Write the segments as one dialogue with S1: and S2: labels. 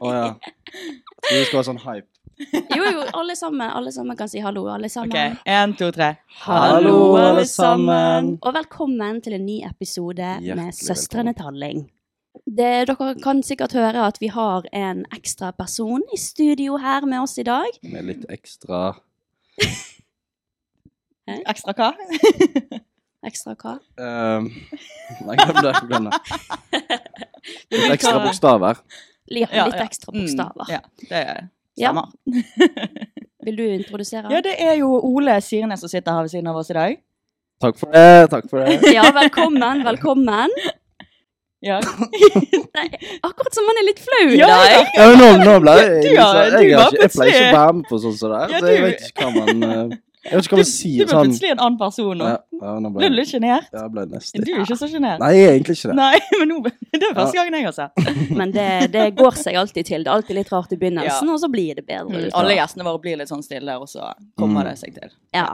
S1: Å ja. Jeg tror du skal ha sånn hype.
S2: Jo, jo, alle sammen. Alle sammen kan si hallo, alle sammen.
S3: Ok, en, to, tre.
S1: Hallo, alle sammen.
S2: Og velkommen til en ny episode med
S1: Hjertelig
S2: Søstrene Talling. Det, dere kan sikkert høre at vi har en ekstra person i studio her med oss i dag.
S1: Med litt ekstra
S3: Ekstra hva?
S2: Ekstra hva?
S1: um, Nei, glem det. Glem det. Litt ekstra
S3: hva-
S1: bokstaver.
S2: Ja,
S3: Ja,
S2: litt
S3: ja.
S2: ekstra bokstaver.
S3: Mm, ja, det
S2: Ja.
S3: stemmer.
S2: Vil du introdusere?
S3: Ja, det er jo Ole Sirnes som sitter her ved siden av oss i dag.
S1: Takk for det. Takk for det.
S2: Ja, velkommen, velkommen.
S3: Ja,
S2: Nei, akkurat som han er litt flau i
S3: Ja,
S2: dag.
S3: ja.
S1: Ja, men nå, nå ble jeg
S3: Du
S1: litt
S3: har-
S1: sånn-
S3: du
S1: Jeg,
S3: var
S1: har ikke- jeg pleier ikke å
S3: plutselig-
S1: være med på sånn som det
S3: Ja,
S1: er. Så jeg
S3: du-
S1: vet ikke hva man uh, Jeg vet ikke hva man
S3: du
S1: sier
S3: ble
S1: sånn.
S3: plutselig en annen person nå.
S1: Ja, ja, nå
S3: Ble du
S1: ble
S3: litt sjenert?
S1: ja, jeg ble nesten
S3: Du er ikke så sjenert.
S1: Nei, jeg er egentlig ikke det.
S3: Nei, men nå, det er første gangen jeg har sett.
S2: Men det, det går seg alltid til. Det er alltid litt rart i begynnelsen,
S3: Ja.
S2: og så blir det bedre. utover.
S3: Alle gjestene våre blir litt sånn stille, og så
S1: Mm.
S3: kommer det seg til.
S2: Ja.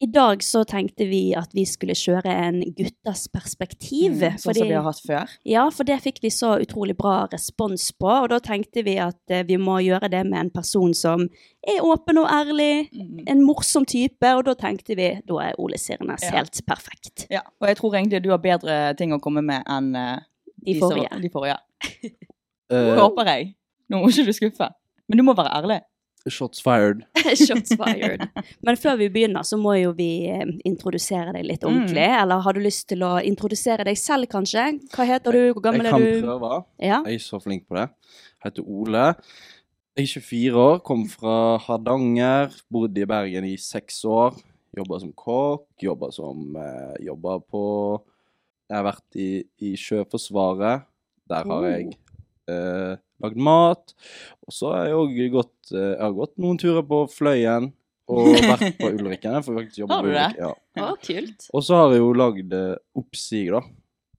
S2: I dag så tenkte vi at vi skulle kjøre en guttas perspektiv.
S3: Mm, Sånn som vi har hatt før.
S2: Ja, for det fikk vi så utrolig bra respons på, og da tenkte vi at eh, vi må gjøre det med en person som er åpen og ærlig,
S3: Mm.
S2: en morsom type, og da tenkte vi da er Ole Sirnes
S3: Ja.
S2: helt perfekt.
S3: Ja, og jeg tror egentlig du har bedre ting å komme med enn eh,
S2: De
S3: som-
S2: forrige.
S3: De forrige.
S1: Uh,
S3: Håper jeg. Nå må ikke du skuffe. Men du må være ærlig.
S1: shots fired.
S2: Shots fired. Men før vi begynner, så må jo vi eh, introdusere deg litt
S3: Mm.
S2: ordentlig. Eller har du lyst til å introdusere deg selv, kanskje? Hva heter du? Hvor
S1: Jeg
S2: gammel
S1: kan
S2: er du?
S1: prøve.
S2: Ja.
S1: Jeg er så flink på det. Jeg heter Ole. Jeg er 24 år, kom fra Hardanger, bodde i Bergen i seks år. Jobba som kokk, jobba som eh, Jobba på Jeg har vært i, i Sjøforsvaret. Der har jeg
S3: Oh.
S1: eh, lagd mat. Og så har jeg òg gått, eh, jeg har gått noen turer på Fløyen og vært på Ulrikken. Jeg får faktisk jobbe
S3: Har du
S1: på
S3: det?
S1: Ulrikken,
S2: Å,
S1: Ja.
S2: kult.
S1: Og så har jeg jo lagd eh, Oppsig, da,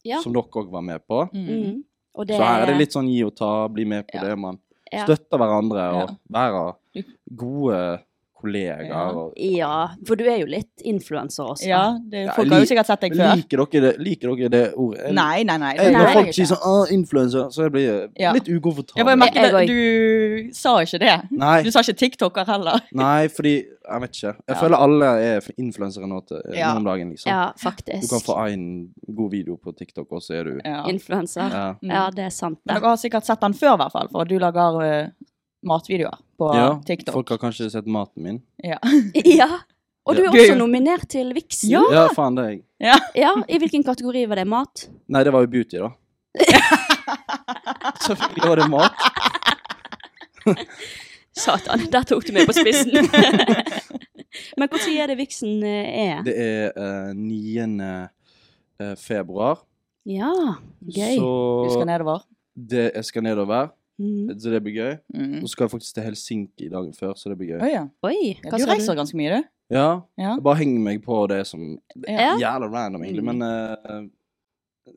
S2: Ja.
S1: som dere òg var med på.
S3: Mm.
S2: Mm. Og
S1: Så her er det litt sånn gi og ta, bli med på
S3: Ja.
S1: det. Man
S2: Ja.
S1: støtter hverandre og
S3: Ja. Mm.
S1: være gode kollegaer.
S3: Ja.
S1: Og,
S2: Ja, for du er jo litt influenser også.
S3: Ja, det,
S1: Ja,
S3: folk har jo
S1: li-
S3: sikkert sett deg før.
S1: liker, dere det, liker dere det ordet? Jeg-
S3: Nei, nei, nei.
S1: Jeg,
S3: det
S2: Nei.
S1: når
S3: gjør
S1: folk
S3: jeg
S1: sier
S3: ikke.
S1: sånn «Å, 'influencer', så jeg blir jeg
S3: Ja.
S1: litt
S3: Jeg bare
S1: ukomfortabel.
S3: merket
S2: Jeg
S3: at
S2: òg.
S3: du sa ikke det.
S1: Nei,
S3: Du sa ikke TikToker heller.
S1: nei, fordi Jeg vet ikke. Jeg
S3: Ja.
S1: føler alle er influensere nå, til,
S3: Ja.
S1: nå om dagen, liksom.
S2: Ja,
S1: Du
S2: faktisk.
S1: kan få en god video på TikTok, og så er du
S3: Ja.
S2: Influenser.
S1: Ja.
S3: Mm.
S2: Ja, det er sant.
S3: Men
S2: Det.
S3: dere har sikkert sett den før, i hvert fall, for du lager eh, matvideoer på
S1: ja
S3: TikTok.
S1: folk har kanskje sett maten min.
S3: Ja.
S2: Ja. Og du er
S3: Du er
S2: også
S3: jo-
S2: nominert til Vixen.
S3: Ja.
S1: Ja, faen, det er jeg.
S2: Ja, I hvilken kategori var det? Mat?
S1: Nei, det var jo beauty, da. Selvfølgelig var det mat.
S2: Satan, der tok du meg på spissen. Men når er det Vixen eh, er?
S1: Det er eh, 9. eh, februar.
S2: Ja, gøy.
S1: Så
S3: Du skal nedover.
S1: det, jeg skal nedover,
S2: Mm.
S1: så det blir gøy.
S3: Mm.
S1: Og så skal jeg faktisk til Helsinki dagen før, så det blir
S3: Å
S1: gøy.
S3: ja.
S2: Oi,
S3: Ja,
S2: hva
S3: Du
S2: sa
S3: reiser ganske mye, du.
S1: Ja,
S3: Ja.
S1: jeg bare henger meg på det som
S2: Ja.
S1: Jævla random, egentlig,
S3: Mm.
S1: men eh,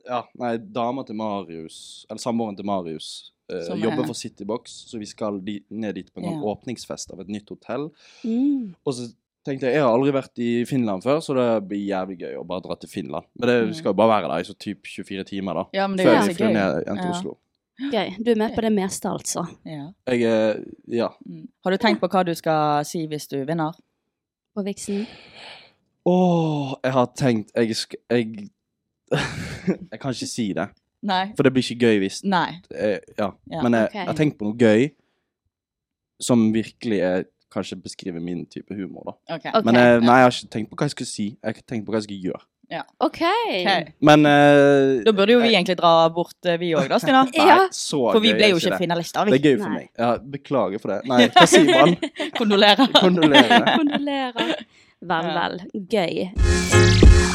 S1: Ja, nei, dama til Marius, eller samboeren til Marius, eh,
S3: Som er-
S1: jobber for Citybox, så vi skal di ned dit på en
S3: Ja.
S1: sånn åpningsfest av et nytt hotell.
S2: Mm.
S1: Og så tenkte jeg, jeg har aldri vært i Finland før, så det blir jævlig gøy å bare dra til Finland. Men det
S3: Mm.
S1: skal jo bare være der i så typ 24 timer, da.
S3: Ja, men det
S1: Før
S3: er
S1: vi
S3: jo så
S1: flyr
S3: gøy.
S1: ned igjen til
S3: Ja.
S1: Oslo.
S2: Gøy. Du er med på det meste, altså.
S3: Ja.
S1: Jeg er Ja.
S3: Mm. Har du tenkt på hva du skal si hvis du vinner?
S2: På Vixen.
S1: Åh, jeg har tenkt Jeg skal Jeg Jeg kan ikke si det,
S3: Nei.
S1: for det blir ikke gøy hvis
S3: Nei.
S1: eh, ja.
S3: Ja,
S1: Men jeg,
S2: ok.
S1: jeg har tenkt på noe gøy som virkelig er Kanskje beskriver min type humor, da.
S3: OK.
S2: Ok.
S1: Men eh, nei, jeg har ikke tenkt på hva jeg skulle si. Jeg har ikke tenkt på hva jeg skulle gjøre.
S2: OK.
S3: Ok.
S1: Men eh,
S3: Da burde jo vi egentlig dra bort, eh, vi òg da, Stina.
S1: Nei,
S2: Ja.
S1: så
S3: For vi
S1: gøy
S3: ble
S1: er
S3: jo ikke
S1: det.
S3: finalister,
S1: Det
S3: vi.
S1: er gøy for
S2: Nei.
S1: meg. Ja, beklager for det. Nei, hva sier man?
S3: Kondolerer.
S1: Kondolerer.
S2: Kondolerer. Vel,
S3: Ja.
S2: vel. Gøy.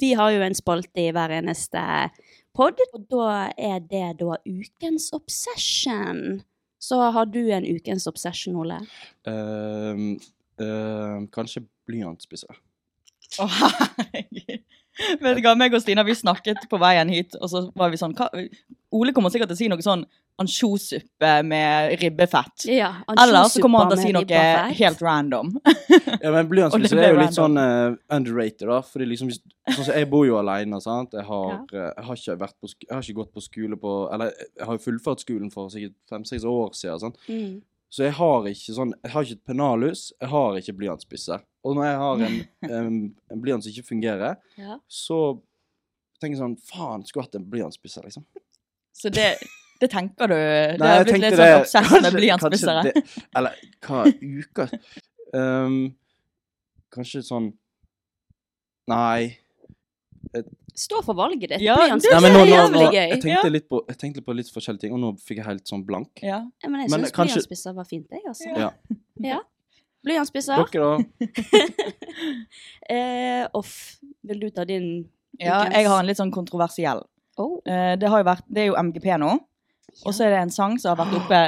S2: Vi har jo en spalte i hver eneste pod, og da er det da ukens obsession. Så har du en ukens obsession, Ole?
S1: Ehm, ehm, kanskje blyantspissere.
S3: Å, herregud. Vet du hva, meg og Stina vi snakket på veien hit, og så var vi sånn hva? Ole kommer sikkert til å si noe sånn ansjossuppe med ribbefett.
S2: Ja,
S3: Eller så kommer han til å si noe helt random.
S1: Ja, men
S3: Og det
S1: Blyantspissere er jo
S3: ble
S1: litt sånn eh, underrated, da. Fordi liksom, hvis, sånn som jeg bor jo alene, sant. Jeg har, eh, jeg, har ikke vært på, sk- jeg har ikke gått på skole på Eller eh, jeg har jo fullført skolen for sikkert fem-seks år siden. sant?
S2: Mm.
S1: Så jeg har ikke sånn Jeg har ikke et pennalhus, jeg har ikke blyantspisser. Og når jeg har en, en, en blyant som ikke fungerer,
S2: Ja.
S1: så tenker jeg sånn Faen, skulle hatt en blyantspisser, liksom.
S3: Så det, det tenker du Det
S1: Nei,
S3: har
S1: jeg
S3: blitt
S1: tenkte
S3: litt sånn
S1: det-
S3: obsess
S1: kanskje-
S3: med
S1: kanskje
S3: blyantspissere.
S1: det- Eller hva uka Ehm, Kanskje sånn Nei.
S2: Stå for valget ditt.
S3: Ja,
S2: Blyant
S3: det
S1: Nei,
S2: er
S1: men nå, nå,
S2: jævlig
S1: nå,
S2: gøy.
S1: jeg,
S3: Ja.
S1: tenkte litt på, jeg tenkte på litt forskjellige ting, og nå fikk jeg helt sånn blank.
S3: Ja.
S2: Ja, Men jeg
S1: Men
S2: syns
S1: kanskje-
S2: blyantspisser var fint, jeg, altså.
S1: Ja.
S2: Ja. Blyantspisser.
S1: Dere, da?
S2: Eh, off. Vil du ta din?
S3: ja, jeg har en litt sånn kontroversiell.
S2: Oh.
S3: Eh, Det, har jo vært, det er jo MGP nå, og så er det en sang som har vært oppe,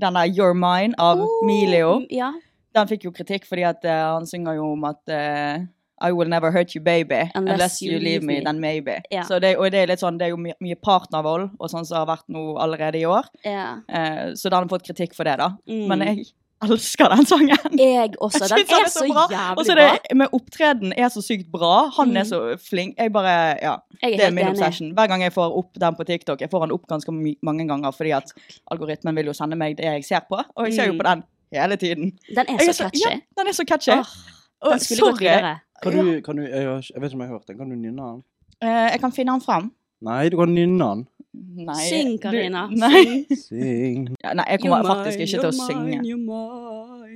S3: den der You're Mine av
S2: Oh,
S3: Milio.
S2: mm, Ja.
S3: Den fikk jo kritikk fordi at eh, han synger jo om at eh, I will never hurt you, baby. Unless, you leave me, then maybe.
S2: Ja.
S3: Så det, og det er litt sånn, det er jo mye, mye partnervold og sånn som har vært nå allerede i år.
S2: ja.
S3: Eh, så den har fått kritikk for det, da.
S2: Mm.
S3: Men jeg elsker den sangen.
S2: Jeg også. Den
S3: Jeg
S2: er
S3: synes
S2: så
S3: Og
S2: jævlig
S3: så er
S2: bra.
S3: det med opptredenen er så sykt bra. Han
S2: Mm.
S3: er så flink. Jeg bare Ja.
S2: Jeg
S3: Det er
S2: helt
S3: min
S2: enig.
S3: obsession. Hver gang jeg får opp den på TikTok, jeg får den opp ganske my- mange ganger fordi at algoritmen vil jo sende meg det jeg ser på, og jeg ser jo
S2: Mm.
S3: på den hele tiden.
S2: Den er så
S3: Jeg er så-
S2: catchy.
S3: ja, Den er så catchy.
S2: Åh,
S3: Og
S2: den skulle gått
S3: sorry,
S2: videre.
S1: Kan du, kan du, jeg, har ikke- jeg vet ikke om jeg har hørt den. Kan du nynne den?
S3: eh, jeg kan finne den frem.
S1: Nei, du kan nynne den.
S3: Nei,
S2: Syng,
S3: du-
S2: Karina.
S3: Nei.
S2: Syng.
S1: Sing.
S3: Ja, nei, jeg kommer faktisk ikke til å synge.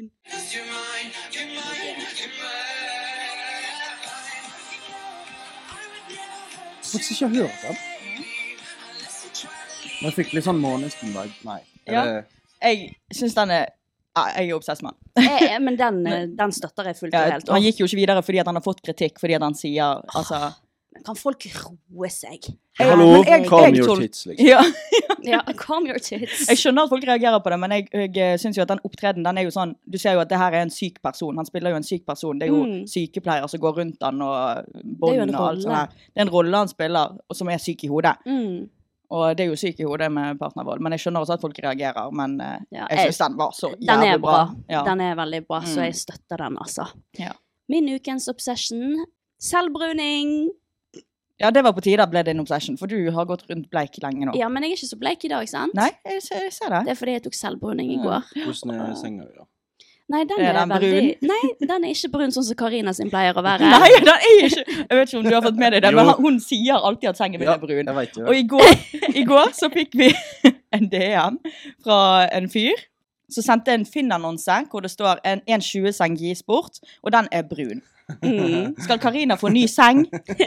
S1: Faktisk ikke hørt den. Men jeg fikk litt sånn måneskinvag. Nei. er
S3: Ja.
S1: det-
S3: Jeg syns den er ja, Jeg er obsess med den.
S2: Eh, eh, Men den, eh, den støtter jeg fullt og
S3: Ja,
S2: helt.
S3: han
S2: Åh,
S3: gikk jo ikke videre fordi at han har fått kritikk fordi at han sier altså
S2: Kan folk roe seg?
S3: Jeg-
S1: Hallo,
S3: men jeg-
S1: calm
S3: jeg
S1: your
S3: tol-
S1: tits, liksom.
S3: ja.
S2: Ja, calm your tits.
S3: Jeg skjønner at folk reagerer på det, men jeg, jeg syns jo at den opptredenen den er jo sånn Du ser jo at det her er en syk person. Han spiller jo en syk person. Det er jo
S2: Mm.
S3: sykepleiere som går rundt han og
S2: Det er jo en
S3: bånd og alt
S2: rolle.
S3: sånt. der. Det er en rolle han spiller, og som er syk i hodet.
S2: Mm.
S3: Og det er jo syk i hodet med partnervold, men jeg skjønner også at folk reagerer. Men eh,
S2: Ja,
S3: jeg syns den var så
S2: Den
S3: jævlig
S2: er bra.
S3: Ja.
S2: Den er veldig bra, så
S3: Mm.
S2: jeg støtter den, altså.
S3: Ja.
S2: Min ukens obsession selvbruning.
S3: ja, det var på tide at ble din obsession, for du har gått rundt bleik lenge nå.
S2: Ja, men jeg er ikke så bleik i dag, sant?
S3: Nei, jeg ser, jeg ser
S2: Det
S3: det.
S2: er fordi jeg tok selvbruning i
S3: Mm.
S2: går.
S1: Hvordan er senga di, da?
S2: Nei, den
S3: Er
S2: er,
S3: den
S2: veldig
S3: brun?
S2: Nei, den er ikke brun sånn som Karina sin pleier å være.
S3: Nei, den er ikke Jeg vet ikke om du har fått med deg det, men
S1: Jo.
S3: han- hun sier alltid at sengen min er brun.
S1: jeg vet jo
S3: Og
S1: det.
S3: i går, i går så fikk vi en DM fra en fyr som sendte en Finn-annonse hvor det står en 1,20-seng gis bort, og den er brun.
S2: Mm.
S3: Skal Karina få ny seng?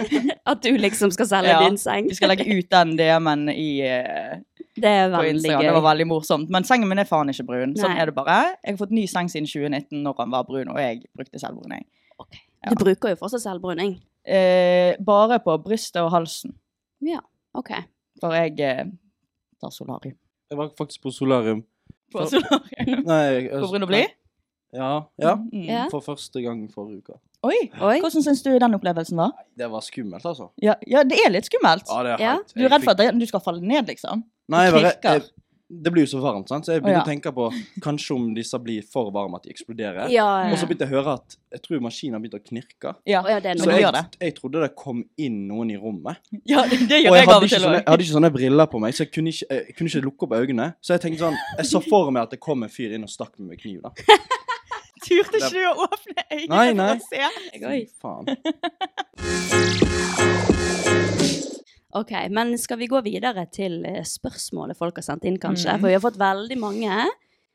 S2: At du liksom skal selge
S3: Ja.
S2: din seng.
S3: Vi skal legge ut den DM-en i, eh,
S2: Det er
S3: på
S2: veldig
S3: Instagram. Det var
S2: gøy.
S3: veldig morsomt. Men sengen min er faen ikke brun. Sånn
S2: Nei.
S3: er det bare. Jeg har fått ny seng siden 2019 når han var brun, og jeg brukte selvbruning. ja.
S2: Du bruker jo fortsatt selvbruning.
S3: Eh, bare på brystet og halsen.
S2: OK.
S3: For jeg eh, tar solarium.
S1: Jeg var faktisk på solarium.
S3: På
S1: For-
S3: solarium.
S1: Nei,
S3: På grunn av bly?
S1: Ja. ja.
S3: Mm.
S2: Ja.
S1: For første gang forrige uke.
S3: Oi!
S2: Oi.
S3: Hvordan syns du den opplevelsen var?
S1: Det var skummelt, altså.
S3: Ja, ja det er litt skummelt.
S1: Ja, det er
S2: Ja.
S1: helt-
S3: Du er redd for at det- du skal falle ned, liksom?
S1: Nei, jeg
S3: det
S1: var redd-
S3: knirker.
S1: jeg- Det blir jo så varmt, sant? så jeg begynte
S3: Å, ja.
S1: å tenke på kanskje om disse blir for varme at de eksploderer.
S2: Ja,
S1: Og så begynte jeg å høre at jeg tror maskinen begynte å knirke.
S3: Ja,
S2: Å, ja, det er
S3: men
S2: noe.
S1: Så
S3: det gjør
S1: jeg,
S3: det.
S1: jeg trodde det kom inn noen i rommet.
S3: Ja,
S1: Og
S3: det, det gjør
S1: jeg
S3: jeg av
S1: hadde
S3: og
S1: ikke
S3: til
S1: sånne, jeg
S3: òg.
S1: hadde ikke sånne briller på meg, så jeg kunne ikke, jeg kunne ikke lukke opp øynene. Så jeg tenkte sånn, jeg så for meg at det kom en fyr inn og stakk meg med kniv. da.
S3: Turte ikke du å åpne
S1: Nei,
S3: øynene
S1: nei.
S2: Oi.
S3: for å se?
S1: Fy Faen.
S2: Ok, men skal vi gå videre til eh, spørsmålet folk har sendt inn, kanskje? For vi har fått veldig mange.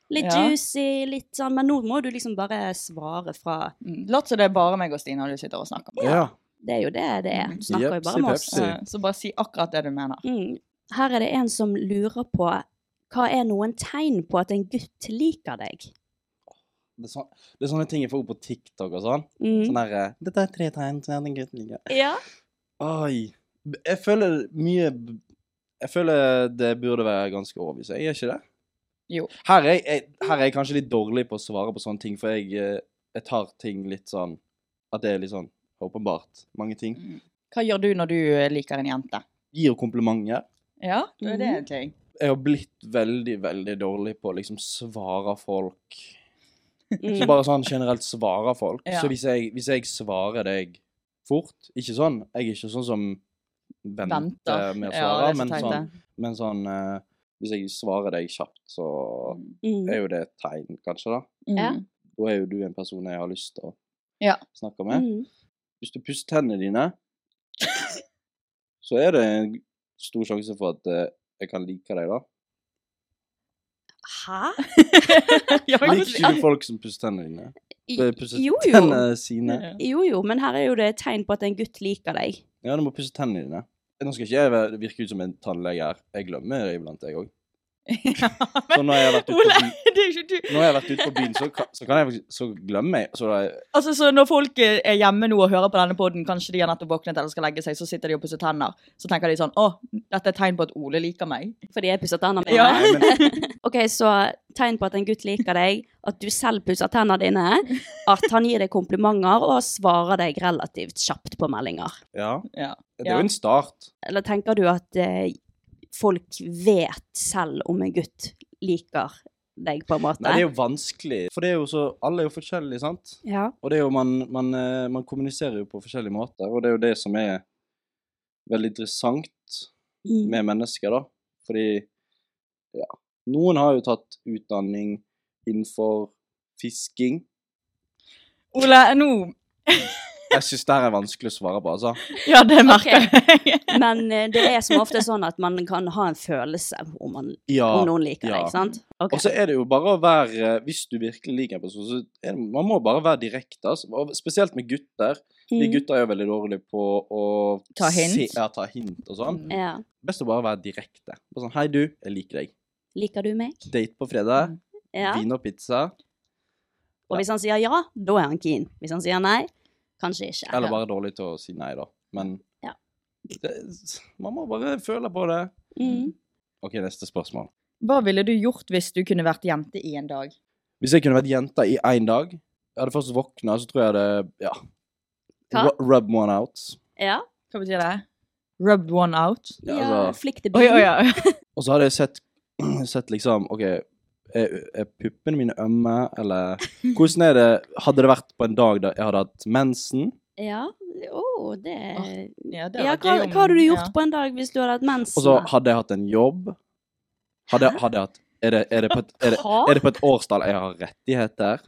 S2: Litt
S3: Ja.
S2: juicy, litt sånn, men nå må du liksom bare svare fra
S3: Mm, Lat som det er bare meg og Stina du sitter og snakker med.
S1: Ja.
S2: Det er jo det det er. Du snakker jo
S1: Jepsi
S2: bare med oss.
S1: pepsi.
S3: Eh, Så bare si akkurat det du mener.
S2: Mm. Her er det en som lurer på hva er noen tegn på at en gutt liker deg?
S1: Det, er sånn, det er sånne ting jeg får opp på TikTok og sånn.
S2: Mm.
S1: Sånn derre Dette er tre tegn til at en gutt liker
S2: Ja.
S1: Oi. Jeg føler mye Jeg føler det burde være ganske overbevist. Jeg er ikke det?
S3: Jo.
S1: Her er, jeg, her er jeg kanskje litt dårlig på å svare på sånne ting, for jeg, eh, jeg tar ting litt sånn At det er litt sånn åpenbart. Mange ting.
S3: Hva gjør du når du eh, liker en jente? Mm.
S1: Gir komplimenter.
S3: Ja, det er en ting.
S1: Jeg har blitt veldig, veldig dårlig på å liksom svare folk. Så
S2: Mm.
S1: bare sånn generelt svare folk.
S3: Ja.
S1: Så hvis jeg, hvis jeg svarer deg fort Ikke sånn. Jeg er ikke sånn som venter,
S3: Venter.
S1: med å
S3: Ja,
S1: svare,
S3: det er så
S1: men
S3: teit,
S1: sånn
S3: det.
S1: Men sånn eh, Hvis jeg svarer deg kjapt, så
S2: Mm.
S1: er jo det et tegn, kanskje, da.
S2: Ja.
S3: Mm.
S1: Da er jo du en person jeg har lyst til å
S3: Ja.
S1: snakke med.
S2: Mm.
S1: Hvis du pusser tennene dine, så er det en stor sjanse for at eh, jeg kan like deg, da.
S2: Hæ?
S3: Ja, men-
S1: Liker ikke du folk som pusser tennene dine? Eh, Pusser
S2: Jo, jo.
S1: tennene sine?
S2: Jo, jo, men her er jo det et tegn på at en gutt liker deg.
S1: Ja, du må pusse tennene dine. Nå skal ikke jeg være- virke ut som en tannlege her. Jeg glemmer det iblant, jeg òg.
S3: Ja,
S1: Så
S3: men
S1: når jeg har vært ute på
S3: Ole,
S1: byen,
S3: det er ikke
S1: når
S3: du.
S1: jeg har vært ute på byen så, kan, så kan jeg faktisk Så glemmer jeg så da,
S3: Altså, så Når folk eh, er hjemme nå og hører på denne podden, kanskje de har nettopp våknet eller skal legge seg, så sitter de og pusser tenner. Så tenker de sånn Å, dette er et tegn på at Ole liker meg.
S2: Fordi jeg pusser tennene mine.
S3: Ja.
S1: Nei, men
S2: Ok, så tegn på at en gutt liker deg, at du selv pusser tennene dine, at han gir deg komplimenter og svarer deg relativt kjapt på meldinger.
S1: Ja.
S3: Ja.
S1: Det er jo en start.
S2: Eller tenker du at eh, folk vet selv om en gutt liker deg, på en måte?
S1: Nei, det er jo vanskelig. For det er jo så, alle er jo forskjellige, sant?
S2: Ja.
S1: Og det er jo, man, man, eh, man kommuniserer jo på forskjellige måter, og det er jo det som er veldig interessant
S2: Mm.
S1: med mennesker, da. Fordi, ja, noen har jo tatt utdanning innenfor fisking.
S3: Ole, nå
S1: Jeg synes det her er vanskelig å svare på, altså.
S3: Ja, det merker jeg.
S2: Men eh, det er som ofte sånn at man kan ha en følelse om, man,
S1: Ja.
S2: om noen liker
S1: ja.
S2: deg, sant? Ok.
S1: Og så er det jo bare å være eh, Hvis du virkelig liker en person, så er det, man må bare være direkte. Altså. Og Spesielt med gutter. De
S2: Mm.
S1: gutta er jo veldig dårlige på å
S3: Ta hint.
S1: ja, ta hint og sånn.
S2: Mm. Ja.
S1: Best å bare være direkte. Bare sånn, Hei, du. Jeg liker deg.
S2: Liker du meg?
S1: Date på fredag.
S2: Mm. Ja.
S1: Vin og pizza.
S2: Og hvis han sier ja, da er han keen. Hvis han sier nei, kanskje ikke.
S1: Eller bare dårlig til å si nei, da. Men
S2: Ja.
S1: det, man må bare føle på det.
S2: Mm.
S1: OK, neste spørsmål.
S3: Hva ville du gjort hvis du kunne vært jente i en dag?
S1: Hvis jeg kunne vært jente i én dag Jeg hadde først våkna, så tror jeg det Ja.
S2: Hva?
S1: Ru- Rub one out.
S2: Ja.
S3: Hva betyr det? Rubbed one out?
S1: Ja,
S2: Ja,
S1: altså-
S2: flikk til
S3: Oi,
S2: bilen.
S3: oi, oi.
S1: Og så hadde jeg sett, sett liksom OK, er, er puppene mine ømme, eller Hvordan er det Hadde det vært på en dag da jeg hadde hatt mensen?
S2: Ja, å, det
S3: Ja, det
S2: Ja,
S3: var
S2: hva,
S3: gøy om-
S2: hva hadde du gjort
S3: ja. Altså,
S2: på en dag hvis du hadde hatt mensen?
S1: Og så
S2: da?
S1: hadde jeg hatt en jobb? Hadde, jeg- hadde jeg hatt er det, er, det på et, er, det, er det på et årstall jeg har rettigheter?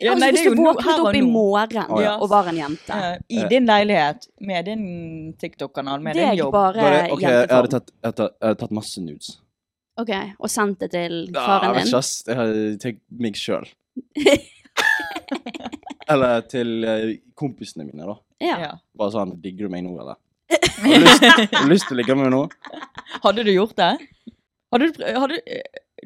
S3: Ja,
S2: altså,
S3: nei, det
S2: hvis
S3: er jo
S2: du
S3: nå-
S2: våknet
S3: her og
S2: opp i
S3: nå.
S2: morgen
S3: Å, ja.
S2: og var en jente
S3: Ja, Eh, I din leilighet, med din TikTok-kanal, med
S2: Det er
S3: din
S2: ikke
S3: jobb.
S1: Da
S2: bare
S1: er det- OK, jeg hadde
S2: jenteform.
S1: tatt, jeg hadde, tatt- jeg hadde tatt masse nudes.
S2: Ok, Og sendt det til
S1: Ah,
S2: faren
S1: jeg vet
S2: din?
S1: ikke, ass. Jeg hadde tenkt meg sjøl. Eller til eh, kompisene mine, da.
S2: Ja.
S1: Bare sånn Digger du meg nå, eller? Har du lyst, har du lyst til å ligge med meg nå?
S3: Hadde du gjort det? Hadde du, prø- hadde,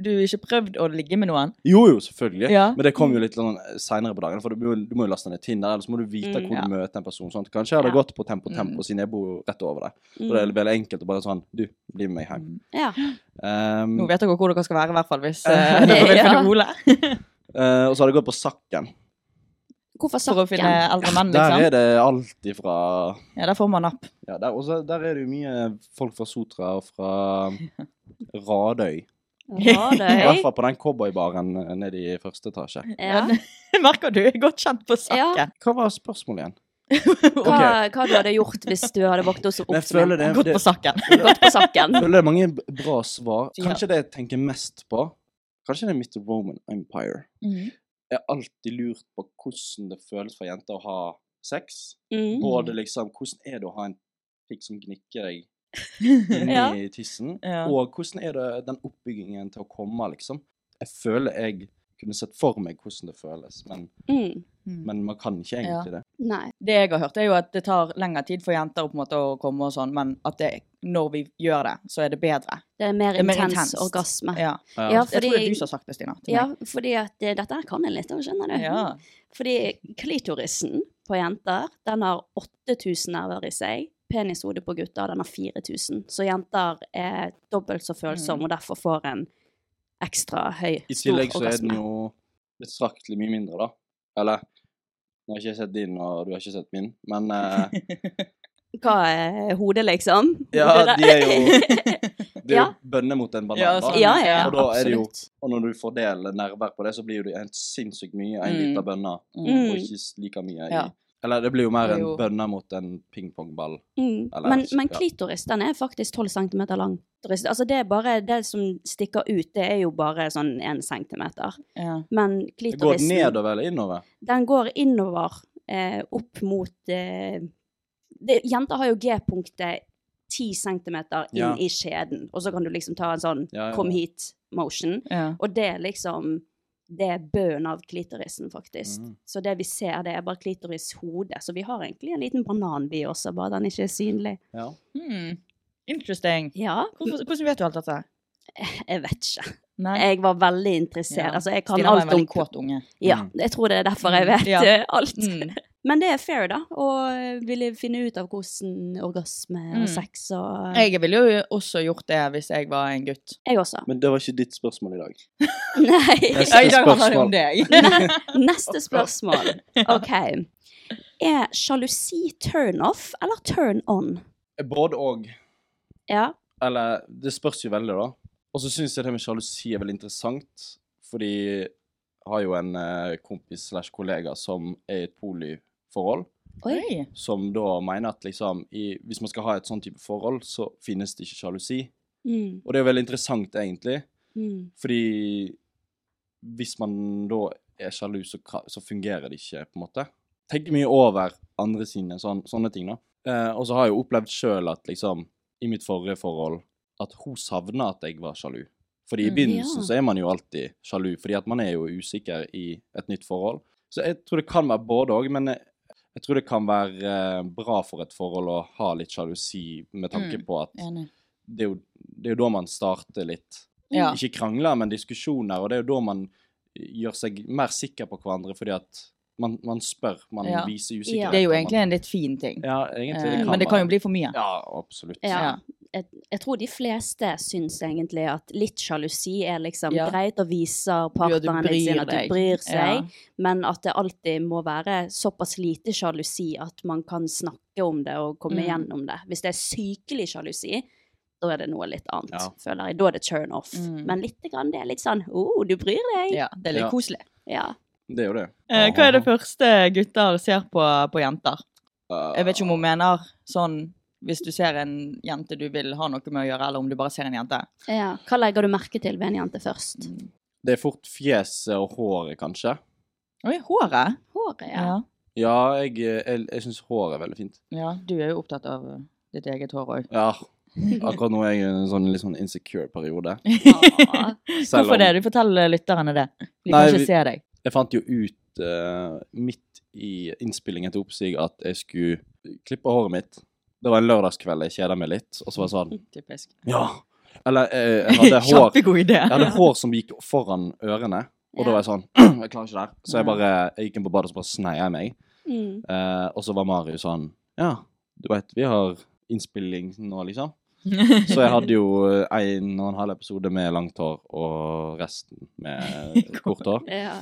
S3: du har ikke prøvd å ligge med noen?
S1: Jo, jo, selvfølgelig.
S3: Ja.
S1: Men det kom jo litt sånn seinere på dagen. For du må, du må jo laste ned Tinder, ellers må du vite
S2: Mm,
S1: hvor
S3: ja.
S1: du møter en person. Sånn. Kanskje jeg hadde
S3: Ja.
S1: gått på Tempo Tempo,
S3: Mm.
S1: siden jeg bor rett over der.
S2: Mm.
S1: Og det er veldig enkelt å bare sånn Du, bli med meg hjem.
S2: Ja.
S1: Um,
S3: Nå vet dere hvor dere skal være, i hvert fall, hvis
S1: Ja.
S3: eh, dere vil finne Ole.
S1: eh, og så hadde jeg gått på Sakken.
S2: Hvorfor
S3: For å
S2: sakken?
S3: finne eldre
S2: Mm,
S3: menn,
S1: Der
S3: liksom.
S1: er det alt ifra
S3: Ja, der får man napp.
S1: ja, der, også, der er det jo mye folk fra Sotra og fra Radøy. I hvert
S2: Radøy.
S1: fall på den cowboybaren eh, nede i første etasje.
S2: Ja.
S3: Det merker du er godt kjent på saken.
S1: Hva var spørsmålet igjen?
S2: Hva, hva du hadde gjort hvis du hadde våknet oss opp
S1: Men jeg føler det,
S3: Godt
S1: det,
S3: på saken.
S2: Gått på sakken.
S1: Jeg føler det er mange b- bra svar.
S3: Ja.
S1: Kanskje det jeg tenker mest på Kanskje det er mitt Roman Empire.
S2: Mm.
S1: Jeg har alltid lurt på hvordan det føles for jenter å ha sex.
S2: Mm.
S1: Både liksom Hvordan er det å ha en pikk som gnikker deg inni
S2: Ja.
S1: tissen?
S3: Ja.
S1: Og hvordan er det den oppbyggingen til å komme, liksom? Jeg føler jeg kunne sett for meg hvordan det føles, men,
S2: Mm.
S1: men man kan ikke egentlig det.
S2: Nei.
S3: Det jeg har hørt, er jo at det tar lengre tid for jenter å på en måte å komme og sånn, men at det, når vi gjør det, så er det bedre.
S2: Det er mer
S3: Det er mer
S2: intens
S3: intenst.
S2: orgasme.
S3: Ja.
S2: Ah.
S1: Eh,
S2: Ja,
S3: Jeg
S2: fordi-
S3: tror det er du som har sagt det, Stina. til
S2: Ja,
S3: meg.
S2: fordi at eh, dette her kan jeg litt, skjønner du.
S3: ja.
S2: Fordi klitorisen på jenter, den har 8000 nerver i seg. Penishodet på gutter, den har 4000. Så jenter er dobbelt så
S3: Mm.
S2: følsomme, og derfor får en ekstra høy,
S1: I
S2: stor
S1: tillegg så er den
S2: orgasme.
S1: jo betraktelig mye mindre, da. Eller Nå har ikke jeg sett din, og du har ikke sett min, men eh,
S2: Hva er hodet, liksom?
S1: Ja,
S2: Hodet
S1: de
S2: der.
S1: er jo, de er jo
S2: Ja.
S1: bønner mot en banan.
S3: Ja,
S1: da.
S3: sånn.
S2: Ja, ja, ja,
S1: og da er det jo,
S2: absolutt.
S1: og når du fordeler nerver på det, så blir det jo helt sinnssykt mye en
S3: Mm.
S1: liter bønner,
S2: Mm.
S1: og ikke s- like mye i
S3: Ja.
S1: Eller det blir jo mer en
S3: Jo.
S1: bønner mot en pingpongball.
S2: Mm.
S1: Eller-
S2: Men, men
S1: ja.
S2: klitoris, den er faktisk 12 cm lang. Klitoris, Altså det, er bare, det som stikker ut, det er jo bare sånn 1 cm.
S3: ja.
S2: Men
S1: Det går
S2: klitorisen,
S1: nedover eller innover?
S2: den går innover eh, opp mot eh, det, Jenter har jo G-punktet 10 cm inn
S1: Ja.
S2: i skjeden, og så kan du liksom ta en sånn
S1: Ja, ja, ja.
S2: 'kom hit'-motion.
S3: Ja.
S2: Og det er liksom Det er bøen av klitorisen, faktisk.
S1: Mhm.
S2: Så det vi ser, det er bare klitorishodet. Så vi har egentlig en liten banan, vi også, bare den ikke er synlig.
S1: Ja.
S3: Hmm. Interesting.
S2: Ja,
S3: Hvorfor, hvordan vet du alt dette?
S2: jeg vet ikke.
S3: Nei.
S2: Jeg var veldig interessert.
S3: Ja.
S2: Altså, jeg kan
S3: Stina var en
S2: alt om
S3: veldig kåt unge.
S2: Ja,
S1: Mm.
S2: jeg tror det er derfor jeg vet
S3: Ja.
S2: eh, alt.
S3: Mm.
S2: Men det er fair, da. Og ville finne ut av hvordan orgasme
S3: Mm.
S2: og sex og
S3: Jeg ville jo også gjort det hvis jeg var en gutt.
S2: Jeg også.
S1: Men det var ikke ditt spørsmål i dag.
S2: Nei.
S1: Neste
S3: I dag handler det
S1: spørsmål.
S3: om deg.
S2: Neste spørsmål. OK. Er sjalusi turn-off eller turn-on?
S1: Både og.
S2: Ja.
S1: Eller Det spørs jo veldig, da. Og så syns jeg det med sjalusi er veldig interessant, fordi jeg har jo en eh, kompis slash kollega som er i et polyforhold.
S2: Oi.
S1: som da mener at liksom, i, hvis man skal ha et sånn type forhold, så finnes det ikke sjalusi.
S2: Mm.
S1: Og det er jo veldig interessant, egentlig,
S2: Mm.
S1: fordi hvis man da er sjalu, så, ka- så fungerer det ikke, på en måte. Tenker mye over andre sine sånn, sånne ting, da. Eh, og så har jeg jo opplevd sjøl at liksom, i mitt forrige forhold, at hun savna at jeg var sjalu. Fordi i
S3: Mm,
S2: ja.
S1: begynnelsen så er man jo alltid sjalu, fordi at man er jo usikker i et nytt forhold. Så jeg tror det kan være både òg, men jeg, jeg tror det kan være eh, bra for et forhold å ha litt sjalusi, med tanke
S3: Mm,
S1: på at
S3: Enig.
S1: det er, jo, det er jo da man starter litt
S3: Ja.
S1: Ikke krangler, men diskusjoner, og det er jo da man eh, gjør seg mer sikker på hverandre, fordi at man, man spør, man
S3: Ja.
S1: viser
S2: Ja.
S1: usikkerhet.
S3: Det er jo
S1: og
S3: egentlig en litt fin ting.
S1: man, Ja, egentlig.
S3: Eh, men det kan jo
S1: være-
S3: bli for mye.
S1: Ja, absolutt.
S2: Ja. Jeg, jeg tror de fleste syns egentlig at litt sjalusi er liksom
S3: Ja.
S2: greit og viser
S3: Ja, du
S2: partneren din
S3: bryr
S2: sin at
S3: deg.
S2: du bryr seg.
S3: Ja.
S2: men at det alltid må være såpass lite sjalusi at man kan snakke om det og komme
S3: Mm.
S2: gjennom det. Hvis det er sykelig sjalusi, da er det noe litt annet,
S1: Ja.
S2: føler jeg. Da er det turn off.
S3: Mm.
S2: Men lite grann, det er litt sånn oh, du bryr deg.
S3: Ja, det er litt
S1: Ja.
S3: koselig.
S2: Ja.
S1: Det er jo det.
S3: Eh, hva er det første gutter ser på, på jenter? Jeg vet ikke om hun mener sånn hvis du ser en jente du vil ha noe med å gjøre, eller om du bare ser en jente.
S2: ja. Hva legger du merke til ved en jente først?
S1: Det er fort fjeset og håret, kanskje.
S3: Oi, håret!
S2: Håret, ja.
S3: Ja.
S1: Ja, jeg, eh, jeg, jeg syns håret er veldig fint.
S3: ja. Du er jo opptatt av ditt eget hår òg.
S1: Ja. Akkurat nå er jeg i en sånn litt sånn insecure periode.
S2: Ah.
S1: Selv
S3: Hvorfor
S1: om
S3: det? Du forteller lytterne det. De
S1: Nei,
S3: kan
S1: vi-
S3: ikke se deg.
S1: Jeg fant jo ut eh, midt i innspillingen til Oppsig at jeg skulle klippe håret mitt. Det var en lørdagskveld jeg kjeda meg litt, og så var jeg sånn
S3: Typisk.
S1: Ja, Eller eh, jeg hadde hår
S3: Kjempegod idé.
S1: Jeg hadde hår som gikk foran ørene, og da var jeg sånn Jeg klarer ikke det her. Så jeg bare jeg gikk inn på badet og så bare sneia jeg meg.
S2: Mm.
S1: Eh, og så var Marius sånn Ja, du veit, vi har innspilling nå, liksom. Så jeg hadde jo eh, en og en halv episode med langt hår og resten med kort hår.
S2: Ja.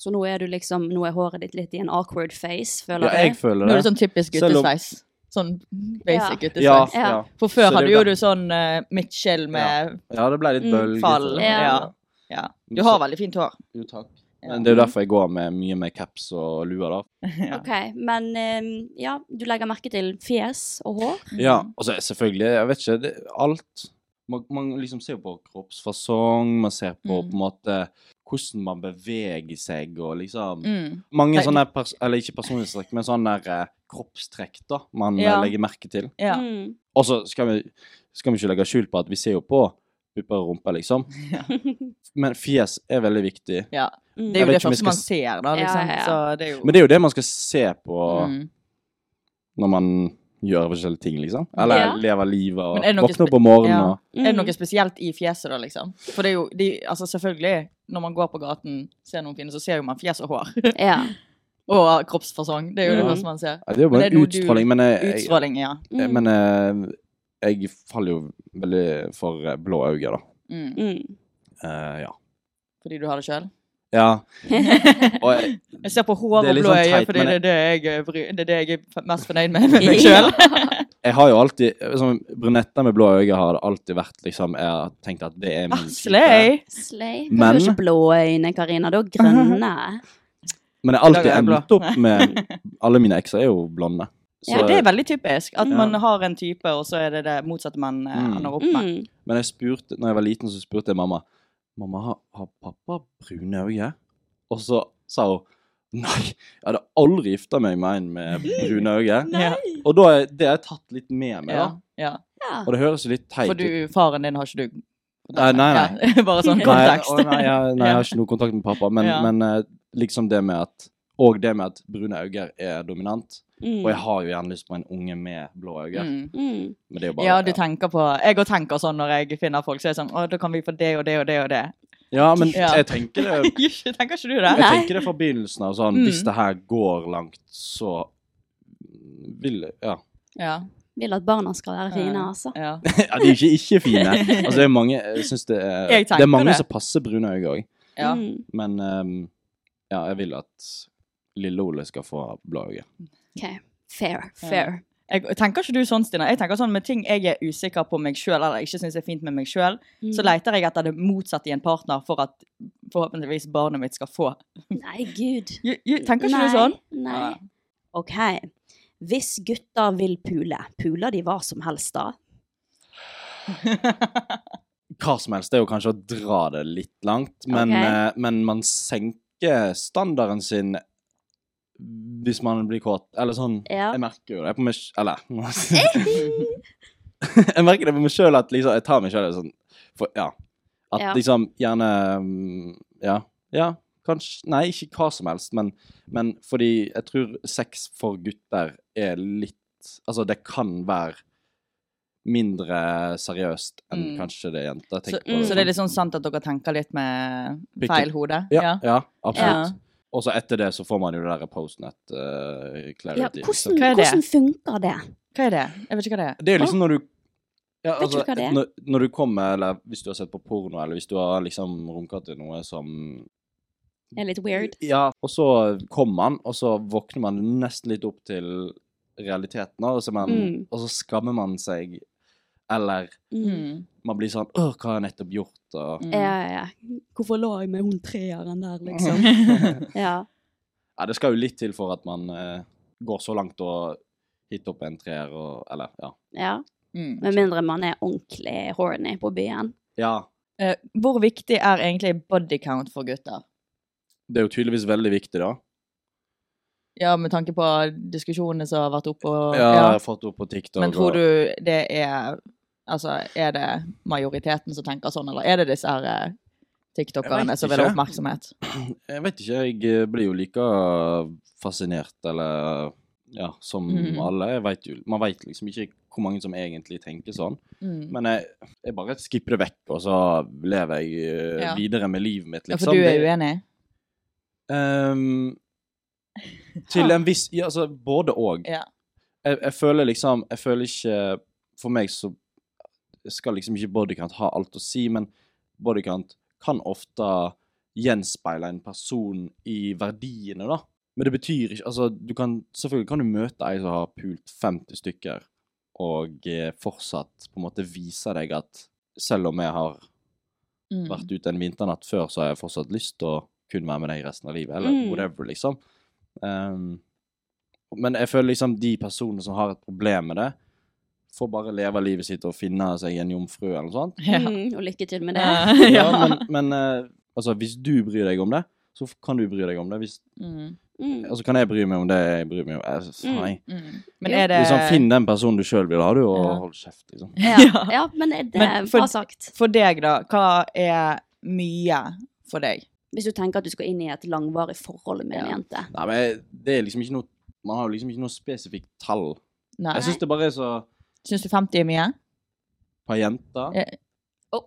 S2: Så nå er du liksom Nå er håret ditt litt i en awkward face, føler
S1: Ja, jeg
S3: Nå er
S1: føler
S3: det
S1: det.
S3: sånn typisk
S1: Selv om-
S3: guttesveis. Sånn basic guttesveis.
S1: Ja,
S2: Ja.
S1: ja.
S3: For
S1: Så
S3: før
S1: det er
S3: hadde
S1: jo
S3: jo du
S1: det.
S3: sånn uh, Mitchell med
S1: ja, det ble litt
S3: Mm,
S1: bølger.
S3: fall,
S2: ja.
S3: ja. Du har veldig fint hår.
S1: Jo, takk.
S3: Ja.
S1: Men det er jo derfor jeg går med mye med caps og lue, da.
S3: Ja.
S2: OK, men eh, ja, du legger merke til fjes og hår.
S3: Mm.
S1: Ja, altså selvfølgelig, jeg vet ikke, det, alt man, man liksom ser på kroppsfasong, man ser på
S3: Mm.
S1: på en måte hvordan man beveger seg og liksom
S3: Mm.
S1: Mange
S3: Nei,
S1: sånne, pers eller ikke personlighetstrekk, men sånne der, eh, kroppstrekk da, man eh,
S3: Ja.
S1: legger merke til.
S3: Ja.
S2: Mm.
S1: Og så skal, vi- skal vi ikke legge skjul på at vi ser jo på pupper og rumpe, liksom. Men fjes er veldig viktig.
S3: ja.
S2: Mm.
S3: Det er
S1: Jeg
S3: jo
S1: vet
S3: det
S1: ikke om jeg
S3: første
S1: skal
S3: man
S1: s-
S3: ser, da. Liksom.
S2: Ja, ja, ja.
S3: Så det er jo
S1: Men det er jo det man skal se på
S3: Mm.
S1: når man gjør forskjellige ting, liksom. Eller
S2: Ja.
S1: lever livet og
S3: Men er det noe
S1: våkner opp
S3: spe-
S1: om morgenen
S3: Ja.
S1: og
S2: Mm.
S3: Er det noe spesielt i fjeset, da, liksom? For det er jo de, Altså, selvfølgelig, når man går på gaten, ser noen fine, så ser jo man fjes og hår.
S2: Ja.
S3: og kroppsfasong. Det er jo det
S1: Ja.
S3: første man ser.
S1: Ja, Det er jo
S3: Men
S1: bare
S3: det er
S1: en
S3: noe du-
S1: utstråling, men jeg, jeg,
S3: Utstråling, ja.
S1: Eh,
S2: Mm.
S1: Men eh, jeg faller jo veldig for eh, blå øyne, da.
S3: Mm.
S2: Mm.
S1: Eh, ja.
S3: Fordi du har det sjøl.
S1: ja. Og jeg,
S3: Jeg ser på hår
S1: Det er
S3: og
S1: litt
S3: blå
S1: sånn
S3: øyne,
S1: teit,
S3: fordi
S1: men Mm,
S3: det er det jeg, eh, bry- det er det jeg er mest fornøyd med med meg
S2: Ja.
S3: sjøl.
S1: jeg har jo alltid liksom, Brunetter med blå øyne har det alltid vært liksom Jeg har tenkt at det er min type.
S3: Slay!
S2: Slay. Du
S1: Men-
S2: har ikke blå øyne, Karina. Du har grønne.
S1: Men jeg har
S3: I
S1: alltid
S3: dag er jeg blå.
S1: endt opp med Alle mine ekser er jo blonde. Så,
S3: Ja, det er veldig typisk. At
S1: Ja.
S3: man har en type, og så er det det motsatte man eh,
S1: Mm.
S3: ender opp med.
S2: Mm.
S1: Men jeg spurte, når jeg var liten, så spurte jeg mamma Mamma, har, har pappa brune øyne? Og så sa hun Nei, jeg hadde aldri gifta meg med en med brune øyne.
S3: Ja.
S1: Og da er det har jeg tatt litt med meg,
S3: Ja.
S1: Mm. da.
S3: ja.
S2: Ja.
S1: Og det høres jo litt teit
S3: For
S1: ut.
S3: du, faren din har ikke du
S1: Eh, nei, nei.
S3: Ja, Bare sånn
S1: Nei,
S3: kontekst.
S1: å, nei, jeg, nei, jeg har ikke noe kontakt med pappa, men,
S3: Ja.
S1: men eh, liksom det med at Og det med at brune øyne er dominant.
S2: Mm.
S1: Og jeg har jo gjerne lyst på en unge med blå øyne,
S3: Mm.
S2: Mm.
S1: men det er jo bare
S3: Ja, du tenker på Jeg òg tenker sånn når jeg finner folk, så er jeg sånn Å, da kan vi få det og det og det og det.
S1: Ja, men
S3: Ja.
S1: jeg tenker det
S3: Ikke- tenker ikke du
S1: Jeg
S3: det?
S2: Nei.
S1: tenker det fra begynnelsen av sånn
S3: Mm.
S1: Hvis det her går langt, så vil jeg Ja.
S3: Ja.
S2: Vil at barna skal være fine, altså.
S3: ja.
S1: ja de er ikke ikke fine. Altså, det er mange Jeg syns det er
S3: Jeg
S1: Det er mange
S3: tenker det.
S1: som passer brune øyne òg,
S3: ja.
S2: Mm.
S1: men ehm, ja, jeg vil at lille Ole skal få blå øyne.
S2: OK. Fair. Fair.
S3: Jeg tenker ikke du sånn, Stina. Jeg tenker sånn Med ting jeg er usikker på meg sjøl, eller ikke syns er fint med meg sjøl,
S2: Mm.
S3: så leter jeg etter det motsatte i en partner for at forhåpentligvis barnet mitt skal få.
S2: Nei, gud.
S3: Ju- ju- Tenker ikke du
S2: Nei,
S3: sånn?
S2: Nei.
S3: Ja.
S2: OK. Hvis gutter vil pule, puler de hva som helst da?
S1: hva som helst. Det er jo kanskje å dra det litt langt, men,
S2: Ok.
S1: eh, men man senker standarden sin hvis man blir kåt. Eller sånn
S2: Ja.
S1: Jeg merker jo det på meg sj- Eller Jeg merker det på meg sjøl at liksom, jeg tar meg sjøl sånn for, Ja. At
S2: Ja.
S1: liksom gjerne mm, Ja. ja. Kanskje Nei, ikke hva som helst, men, men fordi jeg tror sex for gutter er litt Altså, det kan være mindre seriøst enn
S3: Mm.
S1: kanskje det er jenter
S3: Så,
S1: tenker på.
S3: så det er litt sånn sant at dere tenker litt med
S1: Pikken.
S3: feil hode?
S1: ja, ja. absolutt.
S3: Ja.
S1: Og så etter det så får man jo det der postnet eh,
S2: Ja,
S1: clarity.
S2: hvordan,
S3: Hva er det?
S2: hvordan funker det?
S3: Hva er det? Jeg vet ikke hva det er.
S1: Det er jo liksom når du ja, altså,
S2: Vet du hva det er?
S1: Når, når du kommer, eller hvis du har sett på porno, eller hvis du har liksom runka til noe som
S2: Det er litt weird.
S1: Ja, og så kommer man, og så våkner man nesten litt opp til realiteten, og så, er man,
S2: Mm.
S1: og så skammer man seg, eller
S2: Mm.
S3: Mm.
S1: man blir sånn Åh, hva har jeg nettopp gjort? Og,
S3: Mm.
S2: Ja, ja, ja. Hvorfor la jeg meg hun treeren der, liksom? ja.
S1: ja, det skal jo litt til for at man eh, går så langt og hitter opp en treer, og Eller, ja.
S2: ja.
S3: Mm.
S2: Med mindre man er ordentlig horny på byen.
S1: Ja.
S3: Eh, hvor viktig er egentlig body count for gutter?
S1: Det er jo tydeligvis veldig viktig, da.
S3: Ja, med tanke på diskusjonene som har vært oppe og
S1: Ja, jeg
S3: ja.
S1: har fått opp på TikTok.
S3: Men tror
S1: og-
S3: du det er Altså, er det majoriteten som tenker sånn, eller er det disse her eh,
S1: Jeg
S3: tiktokerne
S1: vet
S3: som vil ha
S1: ikke.
S3: oppmerksomhet?
S1: Jeg vet ikke, jeg eh, blir jo like fascinert eller Ja, som
S3: Mhm.
S1: alle. Jeg vet jo, man vet liksom ikke hvor mange som egentlig tenker sånn.
S3: Mm.
S1: Men jeg, jeg bare skipper det vekk, og så lever jeg eh,
S3: Ja.
S1: videre med livet mitt,
S3: Ja,
S1: liksom.
S3: for du er
S1: Det-
S3: uenig?
S1: Ehm, til en viss ja, altså, Både og.
S3: Ja.
S1: Jeg, jeg føler liksom Jeg føler ikke For meg så skal liksom ikke bodycount ha alt å si, men bodycount kan ofte gjenspeile en person i verdiene, da. Men det betyr ikke Altså, du kan Selvfølgelig kan du møte ei som har pult 50 stykker, og eh, fortsatt på en måte vise deg at selv om jeg har
S3: Mm.
S1: vært ute en vinternatt før, så har jeg fortsatt lyst til å kun være med deg resten av livet, eller
S2: Mm.
S1: whatever, liksom. Ehm, men jeg føler liksom de personene som har et problem med det, får bare leve livet sitt og finne seg en jomfru eller noe sånt.
S3: Ja.
S2: Mm, og lykke til med det.
S3: Ja.
S1: Ja, men, men eh, altså, hvis du bryr deg om det, så kan du bry deg om det. Hvis,
S3: Mm.
S2: Mm.
S1: altså, kan jeg bry meg om det jeg bryr meg om? Jeg, nei.
S3: Mm. Men
S2: Jo.
S3: er det
S1: Liksom, finn den personen du sjøl vil ha, du, og
S3: Ja.
S1: hold kjeft, liksom.
S2: Ja, ja, men det
S3: Men
S2: er
S3: for-
S2: bra sagt.
S3: For deg, da. Hva er mye for deg?
S2: Hvis du tenker at du skal inn i et langvarig forhold med en
S3: Ja.
S2: jente.
S1: Nei, men jeg- det er liksom ikke noe Man har jo liksom ikke noe spesifikt tall.
S3: Nei.
S1: Jeg syns det bare er så
S3: Syns du 50 er mye?
S1: Par jenter.
S3: Ja.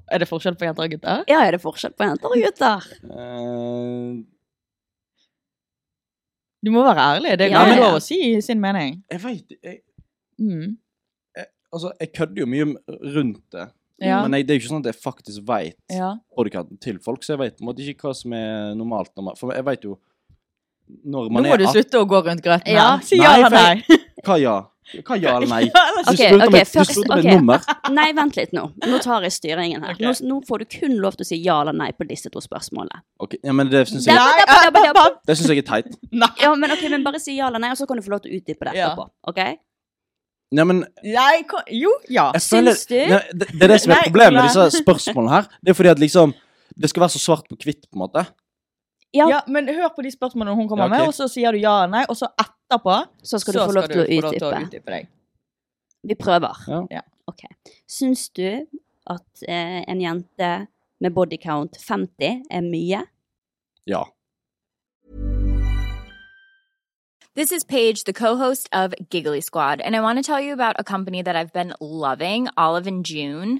S3: Er det forskjell på jenter og gutter?
S2: Ja, er det forskjell på jenter og gutter?
S1: Eh,
S3: Du må være ærlig. Det er
S2: Ja,
S3: gammel
S2: ja, ja.
S3: lov å si sin mening.
S1: jeg veit jeg,
S3: Mm.
S1: Altså, jeg kødder jo mye m- rundt det,
S3: Ja.
S1: men jeg, det er jo ikke sånn at jeg faktisk veit
S3: ja.
S1: bodycounten til folk, så jeg veit ikke hva som er normalt. Når man, for jeg veit jo når
S3: Nå
S1: man
S3: må
S1: er
S3: du
S1: at-
S3: slutte å gå rundt grøten. her.
S2: Ja.
S3: Si ja
S1: Nei,
S3: eller
S1: for jeg-
S3: nei.
S1: Hva ja? Hva ja eller nei? Du
S2: Ok,
S1: spurte om
S2: ok,
S1: et- du
S2: først-
S1: spurte om et
S2: ok.
S1: nummer.
S2: Nei, vent litt nå. Nå tar jeg styringen her.
S3: Ok.
S2: Nå, nå får du kun lov til å si ja eller nei på disse to spørsmålene.
S1: Ok, ja, men det syns
S2: Der-
S1: jeg,
S2: Nei, ja, ja, ja.
S1: det synes jeg er teit.
S3: Nei.
S2: Ja, men ok, men bare si ja eller nei, og så kan du få lov til å utdype det
S3: Ja.
S2: etterpå. ok?
S1: Ja, men
S3: Jeg kan- Jo, ja.
S1: jeg føler,
S2: Syns du?
S1: Ja, det, det er det som er
S3: Nei,
S1: problemet med
S3: nei.
S1: disse spørsmålene her. Det er fordi at liksom Det skal være så svart på hvitt, på en måte.
S2: Ja.
S3: Ja, men hør på de spørsmålene hun
S1: Ja,
S3: kommer
S1: ok.
S3: med, og så sier du ja eller nei, og så etterpå
S2: Så skal
S3: så
S2: du få lov til å
S3: få lov til å
S2: utdype.
S3: utdype deg.
S2: Vi prøver.
S1: Ja.
S3: Ja.
S2: Ok. Syns du at eh, en jente med body count 50 er mye?
S1: Ja.
S4: This is Paige, the co-host of Giggly Squad, and I want to tell you about a company that I've been loving, Olive and June.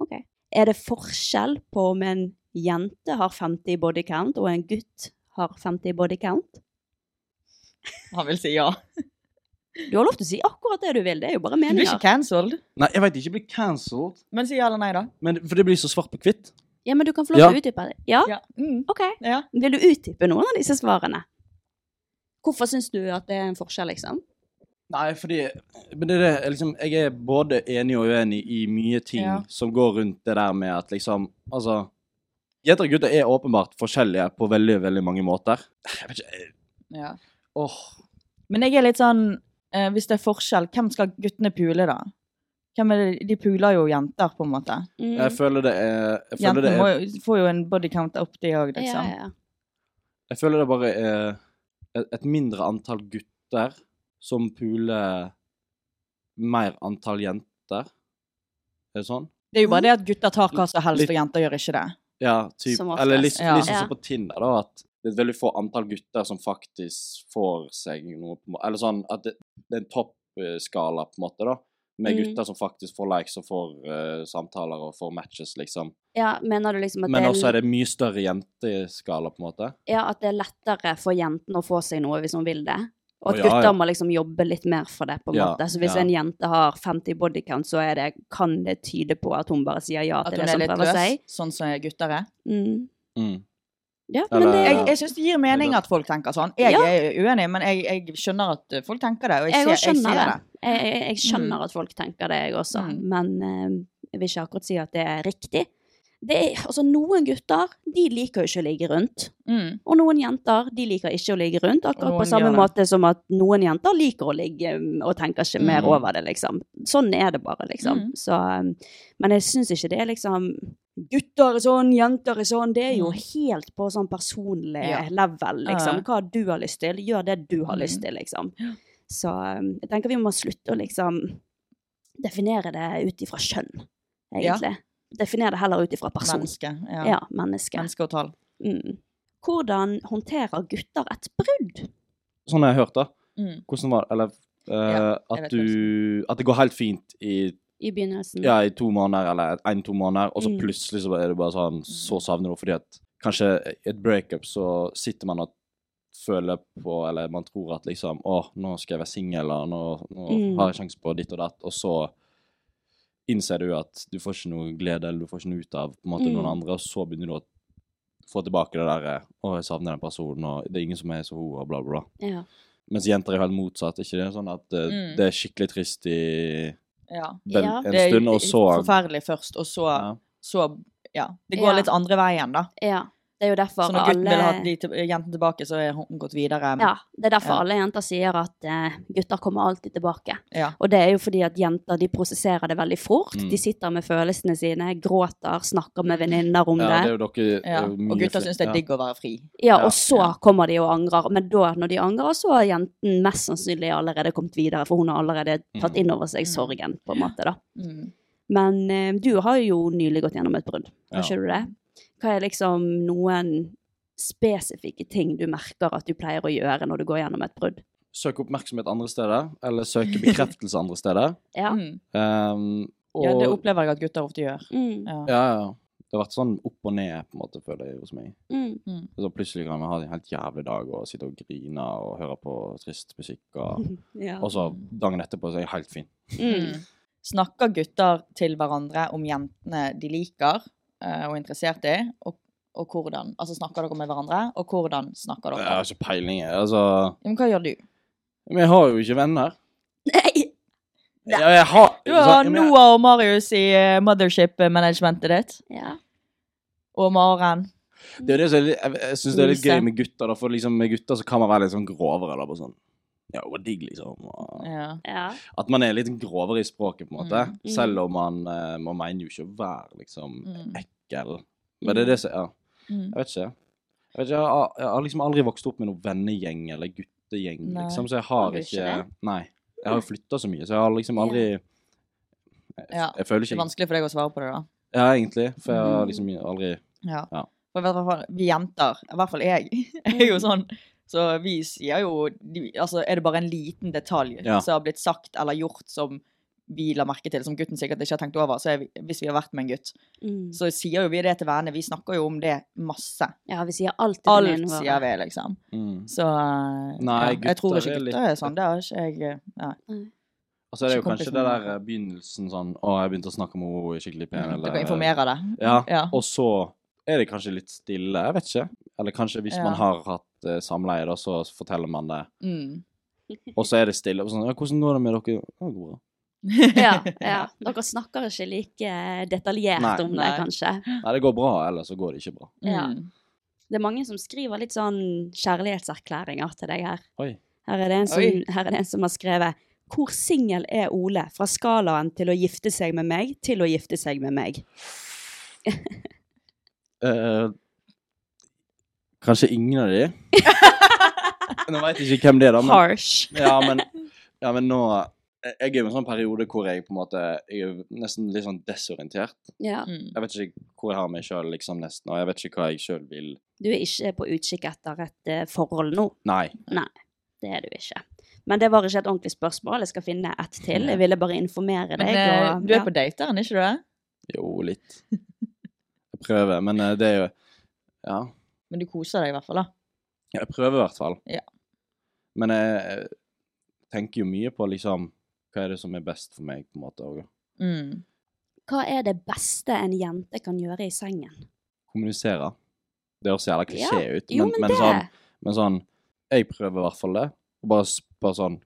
S2: Ok. Er det forskjell på om en jente har 50 i body count, og en gutt har 50 i body count?
S3: Han vil si ja.
S2: Du har lov til å si akkurat det du vil. Det er jo bare
S3: Du blir
S2: meninger.
S3: ikke cancelled,
S1: Nei, jeg veit ikke. Blir cancelled.
S3: men si ja eller nei, da.
S1: Men, for det blir så svart på hvitt.
S2: Ja, men du kan få lov
S1: Ja.
S2: til å utdype det. Ja?
S3: Ja. Mm.
S2: OK.
S3: ja.
S2: Vil du utdype noen av disse svarene? Hvorfor syns du at det er en forskjell, liksom?
S1: Nei, fordi men det er det, liksom, Jeg er både enig og uenig i mye ting
S3: Ja.
S1: som går rundt det der med at liksom Altså Jenter og gutter er åpenbart forskjellige på veldig, veldig mange måter. Jeg vet ikke jeg-
S3: ja.
S1: Åh.
S3: Men jeg er litt sånn eh, Hvis det er forskjell, hvem skal guttene pule, da? Hvem er det? De puler jo jenter, på en måte.
S2: Mm.
S1: Jeg føler det er jeg føler det
S3: Jentene må
S1: er,
S3: jo- får jo en body count opp, de òg,
S2: ja,
S3: liksom.
S2: ja.
S1: jeg føler det bare er et- et mindre antall gutter som puler mer antall jenter. Er det sånn?
S3: Det er jo bare det at gutter tar hva som helst,
S1: Litt-
S3: og jenter gjør ikke det.
S1: Ja, typ.
S2: Som
S1: Eller
S2: oftest,
S1: litt,
S3: ja.
S1: litt sånn
S2: Ja.
S1: som på Tinder, da, at det er et veldig få antall gutter som faktisk får seg noe på en måte. Eller sånn at det, det er en toppskala, på en måte, da. Med
S2: Mm.
S1: gutter som faktisk får likes og får eh, samtaler og får matches, liksom.
S2: ja, mener du liksom at
S1: Men
S2: det
S1: også er det mye større jenteskala, på en måte.
S2: ja, at det er lettere for jentene å få seg noe hvis hun vil det. Og
S1: Å,
S2: at
S1: ja,
S2: gutter
S1: ja.
S2: må liksom jobbe litt mer for det, på en
S1: Ja,
S2: måte. Så hvis
S1: ja.
S2: en jente har 50 bodycount, så er det, kan det tyde på at hun bare sier ja
S3: At
S2: til
S3: hun
S2: det
S3: er
S2: som
S3: litt
S2: prøver
S3: løs,
S2: seg.
S3: sånn som gutter er.
S2: Mm.
S1: Mm.
S2: Ja,
S1: Eller-
S2: men det
S3: Jeg, jeg syns det gir mening at folk tenker sånn. Jeg
S2: Ja.
S3: er uenig, men jeg, jeg skjønner at folk tenker det. Og jeg,
S2: Jeg
S3: ser,
S2: òg skjønner
S3: jeg ser
S2: det.
S3: det.
S2: Jeg, jeg, jeg skjønner at folk tenker det, jeg også.
S3: Mm.
S2: Men eh, jeg vil ikke akkurat si at det er riktig. Det er, altså, noen gutter de liker jo ikke å ligge rundt.
S3: Mm.
S2: Og noen jenter de liker ikke å ligge rundt. Akkurat
S3: noen
S2: på samme
S3: gjør det.
S2: måte som at noen jenter liker å ligge mm, og tenker ikke mer
S1: Mm.
S2: over det, liksom. Sånn er det bare, liksom.
S3: Mm.
S2: Så, um, men jeg syns ikke det er liksom Gutter er sånn, jenter er sånn. Det er jo
S3: Mm.
S2: helt på sånn personlig
S3: Ja.
S2: level,
S3: Ja.
S2: liksom. Hva du har lyst til, gjør det du har
S3: Mm.
S2: lyst til, liksom. Så um, jeg tenker vi må slutte å liksom definere det ut ifra kjønn,
S3: Ja.
S2: egentlig. Definere det heller ut ifra person.
S3: Menneske. Ja.
S2: sånn. Ja, menneske.
S3: Menneske og tall.
S2: Mm. Hvordan håndterer gutter et brudd?
S1: Sånn har jeg hørt, da.
S3: Mm.
S1: Hvordan var det? Eller eh,
S3: Ja, jeg
S1: at
S3: vet
S1: du At det går helt fint i,
S2: I begynnelsen.
S1: ja, i to måneder, eller en-to måneder, og så
S2: Mm.
S1: plutselig så er det bare sånn Så savner du fordi at kanskje i et breakup så sitter man og føler på, eller man tror at liksom Å, nå skal jeg være singel, og nå, nå
S2: Mm.
S1: har jeg sjanse på ditt og datt, og så innser du at du får ikke noe glede, eller du får ikke noe ut av på en måte
S2: Mm.
S1: noen andre, og så begynner du å få tilbake det derre Å, jeg savner den personen, og det er ingen som er som hun, og bla, bla, bla.
S2: Ja.
S1: Mens jenter er helt motsatt. ikke det? Sånn at eh,
S3: Mm.
S1: det er skikkelig trist i
S3: Ja.
S1: den,
S2: Ja.
S1: en
S3: Det er
S1: stund, og så
S3: Forferdelig først, og så
S1: ja.
S3: så ja. Det går
S2: Ja.
S3: litt andre veien, da.
S2: ja. Det er jo derfor
S3: Så når Sånn gutten
S2: alle
S3: vil ha de til, jenten tilbake, så er hun gått videre.
S2: ja, det er derfor
S3: Ja.
S2: alle jenter sier at eh, gutter kommer alltid tilbake.
S3: Ja.
S2: Og det er jo fordi at jenter de prosesserer det veldig fort.
S1: Mm.
S2: De sitter med følelsene sine, gråter, snakker med venninner om
S1: ja, det er
S2: det.
S1: jo dere det er
S3: Ja.
S1: jo mye
S3: Og gutter
S1: fl-
S3: syns det
S1: ja.
S3: er digg å være fri.
S2: Ja,
S1: ja,
S2: og så
S3: ja.
S2: kommer de og angrer. Men da, når de angrer, så har jenten mest sannsynlig allerede kommet videre, for hun har allerede tatt
S1: Mm.
S2: inn over seg
S3: Mm.
S2: sorgen, på en måte, da.
S3: Mm.
S2: Men eh, du har jo nylig gått gjennom et brudd, har
S1: Ja.
S2: ikke du det? Hva er liksom noen spesifikke ting du merker at du pleier å gjøre når du går gjennom et brudd?
S1: Søke oppmerksomhet andre steder, eller søke bekreftelse andre steder.
S2: Ja.
S3: Mm.
S1: Um, og,
S3: ja. Det opplever jeg at gutter ofte gjør.
S2: Mm,
S3: Ja.
S1: ja, ja. Det har vært sånn opp og ned, på en måte, føler jeg, hos meg.
S2: mm,
S1: Og så plutselig kan man ha en helt jævlig dag og sitte og grine og høre på trist musikk, og,
S2: ja.
S1: og så dagen etterpå så er jeg helt fin.
S2: Mm,
S3: Snakker gutter til hverandre om jentene de liker eh, og er interessert i, og, og hvordan? Altså snakker dere med hverandre, og hvordan snakker
S1: Jeg
S3: dere?
S1: har ikke peiling, jeg. Altså
S3: Ja, Men hva gjør du?
S1: Men jeg har jo ikke venner.
S2: Nei! Nei.
S1: Jeg, jeg har
S3: Du
S1: sånn-
S3: har
S1: jeg mener-
S3: Noah og Marius i eh, mothership-managementet ditt,
S2: Ja.
S3: og Maren.
S1: Det er jo det som er litt, jeg jeg synes det er litt
S3: Ose.
S1: gøy med gutter, da, for liksom med gutter så kan man være litt sånn grovere. Da, bare sånn, ja, det var digg, liksom. og-
S3: Ja.
S2: ja.
S1: At man er litt grovere i språket, på en måte.
S3: Mm.
S2: Mm.
S1: Selv om man, eh, man mener jo ikke å være liksom
S3: Mm.
S1: ekkel. Men det er det som Ja,
S3: Mm.
S1: jeg vet ikke. Jeg, vet ikke, jeg, har, jeg har liksom aldri vokst opp med noen vennegjeng eller guttegjeng,
S3: Nei.
S1: liksom, så jeg
S2: Har
S1: har
S2: du
S1: ikke
S2: ikke
S1: Nei. Jeg har jo flytta så mye, så jeg har liksom aldri Jeg,
S3: Ja,
S1: jeg føler
S3: Det
S1: ikke
S3: er Mm. vanskelig for deg å svare på det, da.
S1: Ja, egentlig. For jeg har liksom aldri
S3: Ja.
S1: Ja. Mm.
S3: For i hvert fall, vi jenter, i hvert fall jeg, er jo sånn Så vi sier jo de- Altså, er det bare en liten detalj
S1: Ja.
S3: som har blitt sagt eller gjort som vi la merke til, som gutten sikkert ikke har tenkt over, så er vi, hvis vi har vært med en gutt,
S2: Mm.
S3: så sier jo vi det til vennene. Vi snakker jo om det masse.
S2: Ja, vi sier alt til
S3: Alt
S2: venninnen vår.
S3: sier vi, liksom.
S1: Mm.
S3: Så eh,
S1: Nei,
S3: ja, jeg tror
S1: gutter
S3: ikke
S1: er litt-
S3: gutter er sånn. Det har ikke jeg eh, Nei.
S1: Og så er det jo
S3: Ikke
S1: kanskje
S3: kompisen
S1: det
S3: min.
S1: der eh, begynnelsen sånn Å, jeg begynte å snakke om henne, hun er skikkelig pen,
S3: Dere
S1: eller eh,
S3: informerer det.
S1: Ja.
S3: Ja.
S1: Og så er det kanskje litt stille, jeg vet ikke. Eller kanskje hvis
S3: Ja.
S1: man har hatt eh, samleie, da, så forteller man det.
S3: Mm.
S1: Og så er det stille. Og sånn, ja, 'Hvordan går det med dere?' Ja, det går bra.
S2: Ja, ja. Dere snakker ikke like eh, detaljert
S1: Nei.
S2: om
S3: Nei.
S2: det, kanskje.
S1: Nei, det går bra, eller så går det ikke bra.
S2: Ja.
S3: Mm.
S2: Det er mange som skriver litt sånn kjærlighetserklæringer til deg her.
S1: Oi.
S2: Her er det en som,
S3: Oi.
S2: her er det en som har skrevet hvor singel er Ole fra skalaen til å gifte seg med meg til å gifte seg med meg?
S1: Eh, kanskje ingen av de. Nå veit jeg ikke hvem det er, da. Men,
S2: Harsh.
S1: Ja, men, ja, men nå Jeg jeg er jo i en sånn periode hvor jeg på en måte Jeg er nesten litt sånn desorientert.
S2: Ja.
S3: Mm.
S1: Jeg vet ikke hvor jeg har meg sjøl, liksom, nesten. Og jeg vet ikke hva jeg sjøl vil.
S2: Du er ikke på utkikk etter et eh, forhold nå.
S1: Nei.
S2: Det er du ikke. Men det var ikke et ordentlig spørsmål. Jeg skal finne ett til. Jeg ville bare informere
S3: Men
S2: deg.
S3: eh,
S2: og-
S3: du
S2: ja.
S3: er på dateren, ikke du eh? det?
S1: Jo, litt. Jeg prøver, men eh, det er jo Ja.
S3: Men du koser deg i hvert fall, da.
S1: Jeg prøver i hvert fall.
S3: Ja.
S1: Men jeg eh, tenker jo mye på liksom Hva er det som er best for meg, på en måte? Og
S3: Mm.
S2: Hva er det beste en jente kan gjøre i sengen?
S1: kommunisere. Det høres jævla klisjé ut, men,
S2: Jo, men,
S1: men,
S2: det
S1: sånn, men sånn Jeg prøver i hvert fall det. Og bare spør sånn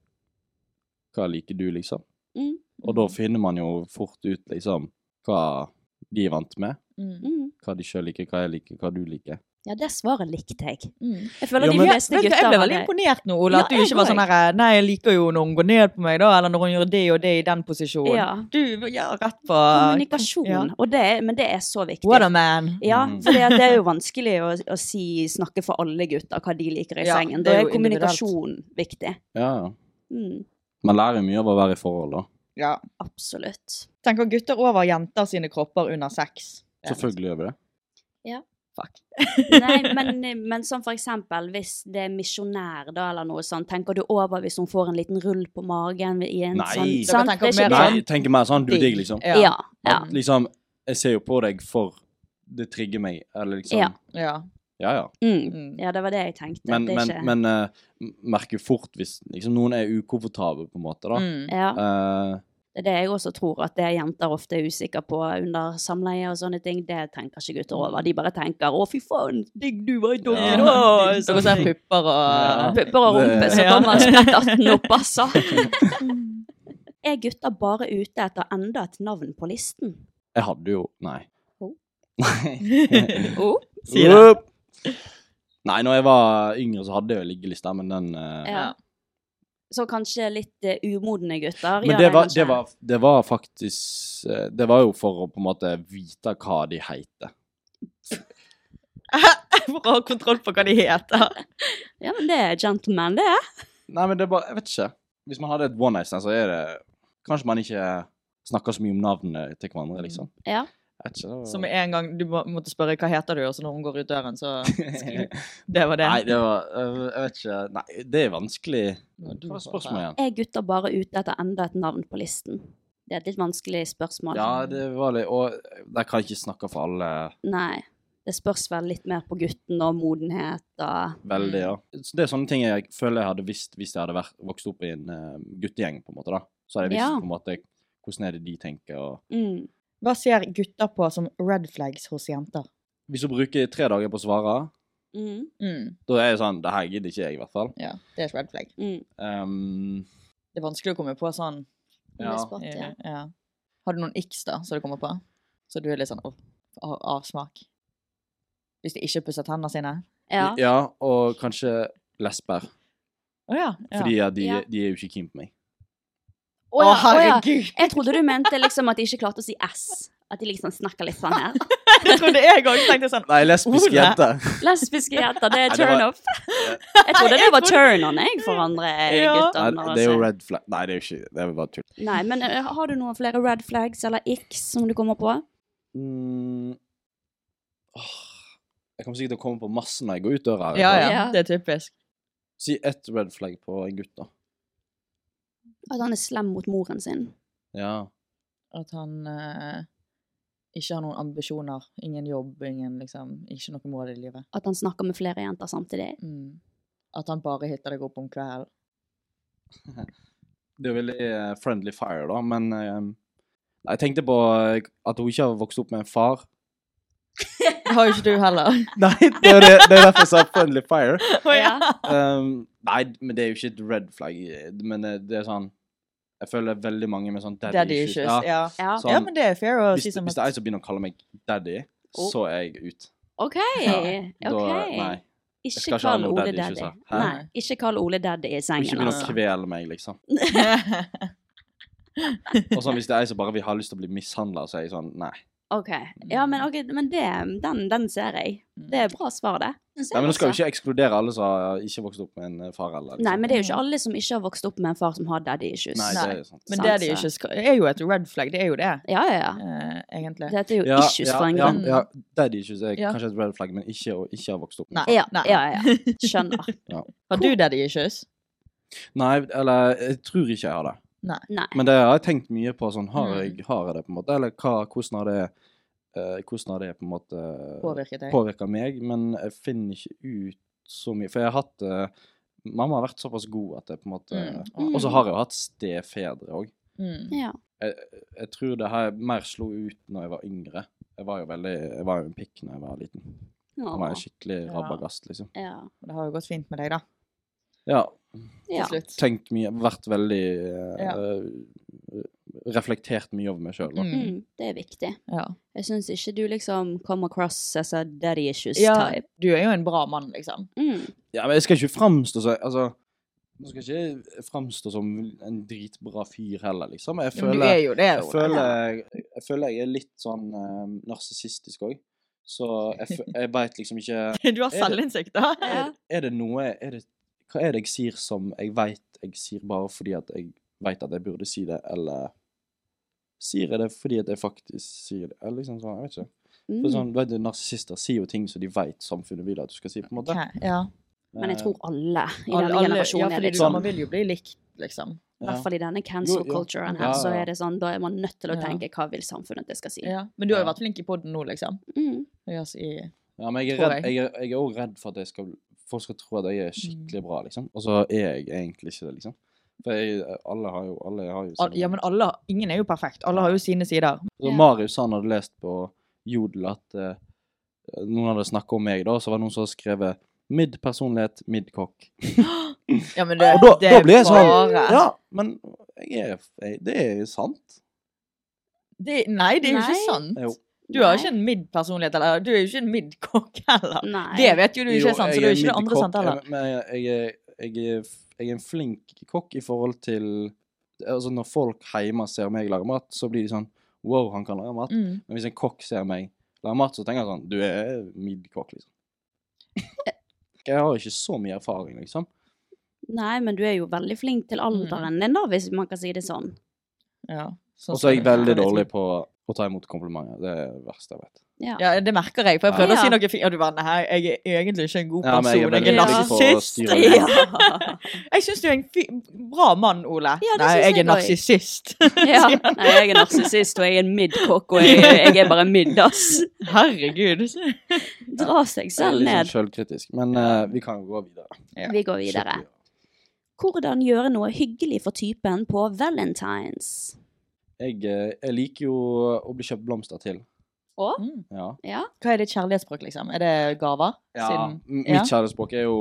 S1: Hva liker du, liksom?
S2: mm,
S1: Og da finner man jo fort ut liksom hva de er vant med.
S3: Mm.
S2: mm.
S1: Hva de sjøl liker, hva jeg liker, hva du liker.
S2: Ja, det svaret likte jeg.
S3: Mm.
S2: Jeg føler
S1: Ja,
S2: de
S1: men-
S2: fleste
S3: Vet du,
S2: gutter
S3: jeg ble
S2: har
S3: veldig
S2: det.
S3: imponert nå, Ola. At
S2: Ja,
S3: du
S2: jeg
S3: ikke var
S2: går.
S3: sånn her Nei, jeg liker jo når hun går ned på meg, da. Eller når hun gjør det og det i den posisjonen.
S2: Ja.
S3: Du ja, rett på
S2: Kommunikasjon.
S3: Ja.
S2: Og det, er- men det er så viktig.
S3: What a man.
S2: Ja,
S1: Mm.
S2: for det, det er jo vanskelig å, å si, snakke for alle gutter hva de liker i
S3: Ja,
S2: sengen.
S3: det
S2: Da
S3: er
S2: er
S3: jo individuelt.
S2: kommunikasjon viktig.
S1: Ja, ja.
S2: Mm,
S1: Man lærer mye av å være i forhold, da.
S3: Ja.
S2: absolutt.
S3: Tenker gutter over jenter sine kropper under sex.
S1: Selvfølgelig gjør vi det.
S3: Fuck.
S2: Nei, men, men sånn for eksempel, hvis det er misjonær da, eller noe sånt, tenker du over hvis hun får en liten rull på magen i en
S1: Nei.
S2: sånn
S1: Dere
S2: sant? Det
S3: tenker
S2: er
S3: mer
S2: ikke
S3: sånn-
S1: Nei, tenker mer sånn du er digg, liksom.
S2: det. Ja. ja.
S1: At, liksom, jeg ser jo på deg for Det trigger meg, eller liksom
S2: Ja.
S1: Ja,
S3: ja.
S1: ja.
S2: Mm.
S3: Mm.
S2: ja, det var det jeg tenkte.
S1: Men,
S2: det er
S1: men,
S2: ikke...
S1: men eh, merker fort hvis liksom, noen er ukomfortable, på en måte, da.
S3: Mm.
S2: ja,
S1: Eh,
S2: det er det jeg også tror at det jenter ofte er usikre på under samleie og sånne ting. Det tenker ikke gutter over. De bare tenker 'Å, fy faen, digg du var i doggy
S1: Ja.
S2: da'.
S3: Dere ser
S2: ting.
S3: pupper
S1: Ja.
S3: og
S2: Pupper og rumpe, så
S3: Ja.
S2: kommer spretterten opp, altså. Er gutter bare ute etter enda et navn på listen?
S1: jeg hadde jo Nei.
S2: Oh.
S1: Nei.
S2: Oh.
S3: Sier det.
S1: Opp. Nei, når jeg var yngre, så hadde jeg jo liggelista, men den eh,
S2: Ja. Så kanskje litt eh, umodne gutter
S1: Men
S2: gjør
S1: det var,
S2: kanskje.
S1: det, var, det var faktisk eh, Det var jo for å på en måte vite hva de heter.
S3: For å ha kontroll på hva de heter.
S2: Ja, men det er gentleman, det.
S1: Nei, men det er bare Jeg vet ikke. Hvis man hadde et one night stand, så er det Kanskje man ikke snakker så mye om navnet til hverandre, liksom.
S2: Mm, Ja.
S1: Jeg vet ikke. det var-
S3: Som en gang du må, måtte spørre hva heter du, og så når hun går ut døren, så skli- Det var det.
S1: Nei, det var øh, Jeg vet ikke Nei, det er vanskelig. Hva var spørsmålet igjen?
S2: Er gutter bare ute etter enda et navn på listen? Det er et litt vanskelig spørsmål.
S1: Ja, det var litt Og der kan jeg ikke snakke for alle
S2: Nei. Det spørs vel litt mer på gutten og modenhet og
S1: veldig, ja.
S2: Mm.
S1: Så det er sånne ting jeg føler jeg hadde visst hvis jeg hadde vært, vokst opp i en eh, guttegjeng, på en måte, da. Så hadde jeg visst
S2: Ja.
S1: på en måte hvordan er det de tenker, og
S2: mm.
S3: Hva ser gutter på som red flags hos jenter?
S1: Hvis du bruker tre dager på å svare,
S2: Mm.
S3: Mm.
S1: da er jeg sånn Det her gidder ikke jeg, i hvert fall.
S3: Ja, det er et red flag.
S2: Mm.
S1: Ehm,
S3: Det er vanskelig å komme på sånn.
S2: Ja.
S1: ja.
S2: Spot, ja.
S3: eh, ja. Har du noen x da, som du kommer på? Så du er litt sånn av, av, avsmak? Hvis de ikke pusser tennene sine?
S2: ja.
S1: ja, og kanskje lesber.
S3: Å ja. ja.
S1: Fordi ja, de,
S2: Ja.
S1: de er jo ikke keen på meg.
S2: Å ja, å ja.
S3: herregud!
S2: Jeg trodde du mente liksom at de ikke klarte å si S. At de liksom snakker litt sånn her.
S3: Jeg trodde jeg òg tenkte sånn.
S1: Nei, lesbiske
S3: Ole.
S1: jenter.
S2: Lesbiske jenter, det
S1: Nei,
S2: er
S1: det var-
S2: turnoff. Jeg trodde det var turn-on, jeg, for andre
S3: Ja.
S2: gutter.
S1: Nei,
S2: når
S1: det er jo
S2: jeg ser-
S1: red flag. Nei, det er jo ikke Det er bare tull.
S2: Nei, men eh, har du noen flere red flags eller x som du kommer på?
S1: Mm. Åh, Jeg kommer sikkert til å komme på masse når jeg går ut døra. her. altså.
S3: Ja, ja.
S2: Ja.
S3: Det er typisk.
S1: Si ett red flag på en gutt, da.
S2: At han er slem mot moren sin.
S1: Ja.
S3: At han eh, ikke har noen ambisjoner. Ingen jobb, ingen liksom Ikke noe mål i livet.
S2: At han snakker med flere jenter samtidig.
S3: Mm. At han bare hitter deg opp om kvelden.
S1: Det er jo veldig eh, friendly fire, da, men eh, Jeg tenkte på eh, at hun ikke har vokst opp med en far.
S3: Det har jo ikke du heller.
S1: Nei, det er, det, det er derfor jeg sa friendly fire.
S2: ja.
S1: Ehm, nei, men det er jo ikke et red flag, men eh, det er sånn Jeg føler veldig mange med sånn daddy,
S3: Daddy issues. Ja.
S2: Ja.
S1: Sånn,
S3: ja, men det er fair å
S1: hvis,
S3: si som
S1: hvis det er en som begynner å kalle meg daddy,
S2: Oh.
S1: så er jeg ut.
S2: OK.
S1: Da,
S2: ok.
S1: nei. Jeg
S2: Ikke
S1: skal ikke ha
S2: kall
S1: noe
S2: Ole
S1: daddy issues
S2: daddy.
S1: her.
S2: Nei, ikke kall Ole daddy i
S1: Ikke
S2: sengen,
S1: begynn å
S2: altså.
S1: kvele meg, liksom. Og sånn,
S3: at
S1: hvis det er en som bare vil ha lyst til å bli mishandla, så er jeg sånn Nei.
S2: OK. Ja, men, ok, men det, den, den ser jeg. Det er bra svar, det. Den ser
S1: nei men nå skal
S2: jeg
S1: vi ikke ekskludere alle som har ikke vokst opp med en eh, far eller
S2: også. Nei, men det er jo ikke alle som ikke har vokst opp med en far som har daddy issues.
S1: Nei, det er sånn. sant.
S3: Men
S2: Sant,
S3: det de
S2: så.
S3: ikke skal, er jo et red flag. Det er jo det,
S2: Ja, ja, ja.
S3: eh, egentlig.
S2: Dette er jo
S1: Ja,
S2: issues for en
S1: ja,
S2: grunn.
S1: Ja, daddy issues er
S3: Ja.
S1: kanskje et red flag, men ikke å ikke ha vokst opp med
S3: Nei.
S2: Ja, ja, ja, ja. Skjønner.
S3: Har du daddy issues?
S1: Nei, eller jeg tror ikke jeg har det.
S2: Nei.
S1: Men det har jeg tenkt mye på. sånn, Har
S3: Mm.
S1: jeg, har jeg det, på en måte? Eller hva, hvordan har det eh, Hvordan har det på en måte
S3: Påvirket deg?
S1: påvirka meg? Men jeg finner ikke ut så mye. For jeg har hatt eh, Mamma har vært såpass god at jeg på en måte
S3: Mm.
S1: Og så har jeg jo hatt stefedre òg.
S3: Mm.
S2: Ja.
S1: Jeg, jeg tror det her mer slo ut når jeg var yngre. Jeg var jo veldig, jeg var jo en pikk når jeg var liten. Jeg var en skikkelig
S3: Ja.
S1: rabagast, liksom.
S2: Ja.
S3: Det har jo gått fint med deg, da.
S1: Ja,
S3: Til
S2: ja.
S3: slutt.
S1: tenkt mye, vært veldig eh,
S3: Ja.
S1: eh, Reflektert mye over meg sjøl. da.
S3: Mm.
S2: Mm, det er viktig.
S3: Ja.
S2: Jeg syns ikke du liksom come across as a daddy issues
S3: ja.
S2: type.
S3: Du er jo en bra mann, liksom.
S2: Mm.
S1: Ja, men jeg skal ikke framstå som Altså, nå skal jeg ikke framstå som en dritbra fyr heller, liksom. Jeg
S3: Jo, men du er
S1: føler,
S3: jo det.
S1: jeg,
S3: Ola.
S1: føler, jeg føler jeg er litt sånn eh, narsissistisk òg. Så jeg, fø- jeg veit liksom ikke
S3: Du har selvinnsikt, da.
S2: Ja.
S1: Er det noe er det, Hva er det jeg sier som jeg veit jeg sier bare fordi at jeg veit at jeg burde si det, eller Sier jeg det fordi at jeg faktisk sier det? Eller liksom sånn, jeg vet ikke. For
S2: Mm.
S1: sånn, du vet, Narsissister sier jo ting som de veit samfunnet vil at du skal si, på en måte.
S3: Ok, Ja.
S2: Men jeg
S1: Eh,
S2: tror alle i
S3: Alle,
S2: denne
S3: alle, ja,
S2: generasjonen er
S3: fordi
S2: litt
S3: du-
S2: sånn.
S3: man vil jo bli likt, liksom.
S2: I
S1: ja.
S2: hvert fall i denne cancel
S1: Jo, jo.
S2: culturen
S1: Ja,
S2: her,
S1: ja.
S2: så er det sånn, da er man nødt til å
S3: Ja.
S2: tenke hva vil samfunnet at jeg skal si.
S3: Ja. Men du har jo
S1: Ja.
S3: vært flink i podden nå, liksom.
S2: Mm.
S3: Ja, så i-
S1: Ja, men jeg er
S3: Tror
S1: redd,
S3: jeg.
S1: jeg er, jeg er også redd for at jeg skal, folk skal tro at jeg er skikkelig bra, liksom. Og så er jeg egentlig ikke det, liksom. For jeg, alle har jo, alle har jo
S3: Al- Ja, men alle, ingen er jo perfekt. Alle har jo sine sider.
S1: Så
S2: Ja.
S1: Marius han hadde lest på Jodel at eh, noen hadde snakket om meg da, og så var det noen som hadde skrevet mid-personlighet, mid-kokk.
S3: Ja, men
S1: Og
S3: det,
S1: da,
S3: det
S1: da
S3: er
S1: ble jeg sånn,
S3: bare-
S1: ja, men jeg er, jeg, det er jo sant.
S3: Det, nei, det er jo
S2: Nei.
S3: ikke sant.
S1: Jo.
S3: Du har
S2: Nei.
S3: ikke en mid-personlighet, eller du er jo ikke en mid-kokk heller.
S2: Nei.
S3: Det vet jo du ikke er sant, så
S1: jeg
S3: det er jo ikke det
S1: en
S3: andre sant
S1: middelkokk,
S3: heller.
S1: Men jeg, jeg, er- jeg, er f- jeg er en flink kokk i forhold til Altså, når folk hjemme ser meg lage mat, så blir de sånn Wow, han kan lage mat.
S3: Mm.
S1: Men hvis en kokk ser meg lage mat, så tenker jeg sånn Du er middelkokk, liksom.
S3: Eh.
S1: Jeg har ikke så mye erfaring, liksom.
S2: Nei, men du er jo veldig flink
S3: Mm.
S2: til alderen din, da, hvis man kan si det sånn.
S3: Ja. sånn
S1: Og så er jeg
S3: skal det
S1: veldig
S3: være.
S1: dårlig på å ta imot komplimenter. Det er det verste jeg vet.
S2: Ja.
S3: Ja, det merker jeg, for jeg prøvde
S2: Ja.
S3: å si noe fint, og du bare nei, jeg er egentlig ikke en god
S1: Ja, men jeg er
S3: person, jeg er,
S1: veldig
S2: dårlig
S1: på å
S3: narsist.
S1: styre det.
S3: Ja. Jeg syns du er en fi bra mann, Ole.
S2: Ja, det
S3: nei,
S2: synes
S3: jeg
S2: jeg
S3: er
S2: også.
S3: narsissist.
S2: Ja. Nei, jeg er narsissist, og jeg er en midkokk, og jeg, jeg er bare midd, ass.
S3: Herregud.
S2: Dra seg
S1: Jeg er
S2: selv
S1: litt
S2: ned.
S1: sånn sjølkritisk. Men eh, vi kan jo gå videre.
S3: Ja.
S2: Vi går videre.
S1: Skikkelig.
S2: Hvordan gjøre noe hyggelig for typen på valentines?
S1: Jeg, eh, jeg liker jo å bli kjøpt blomster til.
S2: Og?
S3: Mm.
S1: Ja.
S2: Ja.
S3: Hva er ditt kjærlighetsspråk, liksom? Er det gaver?
S1: Ja,
S3: Siden-
S1: m-
S3: ja.
S1: Mitt kjærlighetsspråk er jo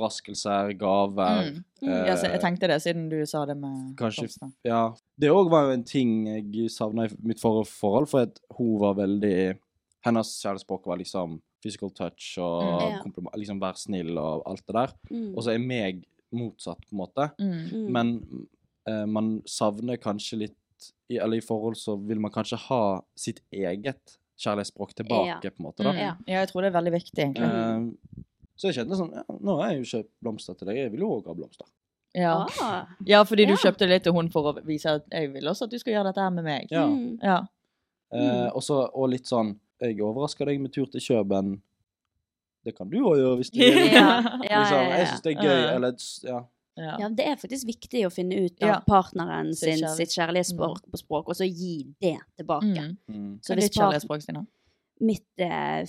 S1: overraskelser, gaver
S3: Mm.
S1: eh,
S3: Ja, så jeg tenkte det, siden du sa det med
S1: Kanskje
S3: blomster.
S1: Ja. Det òg var jo en ting jeg savna i mitt forrige forhold, for at hun var veldig Hennes kjærlighetsspråk var liksom physical touch og
S3: Mm.
S2: Ja.
S1: kompliment- liksom være snill og alt det der.
S2: Mm.
S1: Og så er meg motsatt, på en måte.
S3: Mm.
S2: Mm.
S1: Men eh, man savner kanskje litt i, Eller i forhold så vil man kanskje ha sitt eget kjærlighetsspråk tilbake, på en måte. da.
S3: Mm.
S2: Ja.
S3: Ja. jeg tror det er veldig viktig, egentlig.
S1: Eh, så jeg kjente sånn ja, Nå har jeg jo kjøpt blomster til deg, jeg vil jo òg ha blomster.
S3: Ja.
S2: Ah.
S3: ja, fordi du
S2: Ja.
S3: kjøpte litt til hun for å vise at jeg vil også at du skal gjøre dette her med meg.
S1: Ja.
S2: Mm.
S3: Ja.
S1: Eh, og så- og litt sånn Jeg overrasker deg med tur til Kjøben. Det kan du òg gjøre hvis du vil.
S2: Ja, ja, ja,
S1: liksom,
S2: ja.
S1: jeg syns det er gøy.
S3: Ja.
S1: Eller s- ja,
S3: Ja.
S2: Ja, det er faktisk viktig å finne ut av
S3: Ja.
S2: partneren sin,
S3: Sitt kjærligh-
S2: sitt kjærlighetsspråk på språk, og så gi det tilbake.
S3: Mm.
S1: Mm.
S2: Så
S3: Hva er
S2: hvis
S3: ditt kjærlighetsspråk, Stina?
S2: part- Mitt eh,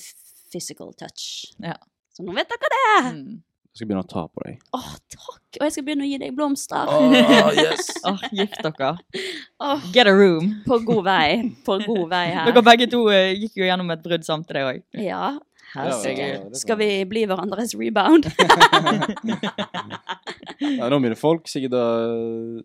S2: physical touch.
S3: Ja.
S2: Så nå vet dere det! Åh,
S3: Mm.
S1: Jeg skal begynne å ta på deg.
S2: takk! Og jeg skal begynne å gi deg blomster.
S1: Ah, yes.
S3: Åh, gift dere.
S2: Åh,
S3: Get a room.
S2: på god vei. På god vei her.
S3: Dere begge to eh, gikk jo gjennom et brudd samtidig òg.
S2: Ja.
S3: Herregud.
S1: det er
S2: Skal
S1: sant.
S2: vi bli hverandres rebound?
S1: Ja, nå begynner folk sikkert å eh,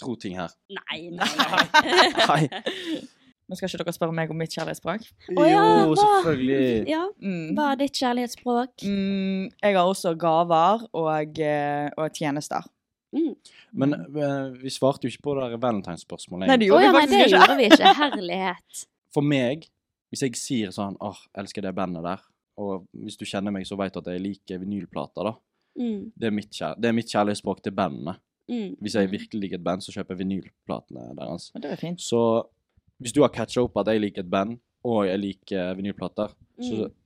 S1: tro ting her.
S2: Nei, nei, nei.
S1: Nei.
S3: Men skal ikke dere spørre meg om mitt kjærlighetsspråk?
S2: Å ja,
S1: jo,
S2: hva?
S1: selvfølgelig.
S2: Ja,
S3: Mm.
S2: hva er ditt kjærlighetsspråk?
S3: Mm, jeg har også gaver og, eh, og tjenester.
S1: Men eh, vi svarte jo ikke på det der valentinsspørsmålet.
S3: Nei,
S2: Å
S3: du gjorde
S2: ja, nei,
S3: faktisk
S2: det
S3: ikke.
S2: gjorde vi ikke. Herlighet.
S1: For meg, hvis jeg sier sånn åh, elsker det bandet der, og hvis du kjenner meg, så vet du at jeg liker vinylplater, da.
S2: Mm,
S1: Det er mitt, kjær det er mitt kjærlighetsspråk til bandene.
S2: mm.
S1: Hvis jeg virkelig liker et band, så kjøper jeg vinylplatene deres.
S3: Men det var fint.
S1: Så hvis du har catcha opp at jeg liker et band, og jeg liker vinylplater, så
S2: Mm.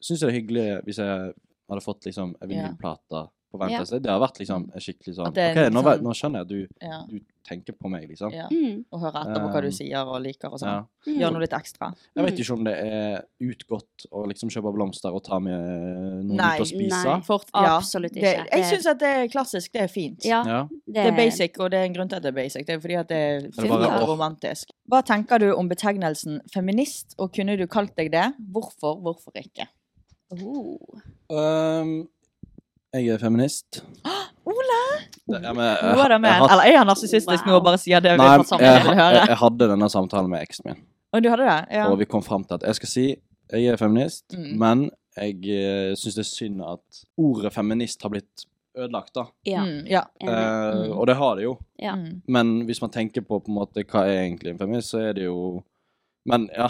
S1: syns jeg det er hyggelig hvis jeg hadde fått liksom en
S3: Ja.
S1: vinylplate på Valentine's Day. Det har vært liksom en skikkelig sånn
S3: At det
S1: OK,
S3: er
S1: nå,
S3: liksom-
S1: vet- nå skjønner jeg at
S3: Ja.
S1: du, du tenker på meg, liksom.
S3: ja.
S2: Mm,
S3: Og høre etter på hva du
S1: Um,
S3: sier og liker
S1: Ja.
S3: og sånn.
S2: mm.
S3: Gjør noe litt ekstra.
S1: Jeg vet ikke om det er utgått å liksom kjøpe blomster og ta med eh, noen
S3: Nei,
S1: ut og spise.
S2: nei.
S3: Fort,
S2: Absolutt
S3: Det,
S2: ikke.
S3: jeg syns at det er klassisk. Det er fint.
S2: Ja,
S1: Ja.
S3: Det er basic, og det er en grunn til at det er basic. Det er fordi at det er
S1: er
S2: bare-
S3: fint og
S1: åh.
S3: romantisk. Hva tenker du om betegnelsen feminist, og kunne du kalt deg det? Hvorfor, hvorfor ikke?
S2: Oh.
S1: Øhm, Ehm, jeg er feminist.
S3: Ola!
S1: Det, ja, men, Eh, jeg,
S3: Noe av det med.
S1: jeg had-
S3: Eller er han narsissistisk nå og
S2: Wow.
S3: bare sier det vi
S1: Nei, eh,
S3: har
S1: jeg,
S3: tatt sammen jeg vil
S1: jeg,
S3: høre?
S1: jeg hadde denne samtalen med eksen min,
S3: Og du hadde det? Ja.
S1: og vi kom fram til at jeg skal si jeg er feminist,
S3: Mm.
S1: men jeg syns det er synd at ordet feminist har blitt ødelagt, da.
S2: Ja.
S3: Mm, ja.
S2: enig.
S1: Eh,
S3: Mm.
S1: Og det har det jo.
S2: Ja.
S3: Mm.
S1: Men hvis man tenker på på en måte hva er egentlig en feminist, så er det jo Men ja.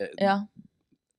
S1: eh,
S3: Ja.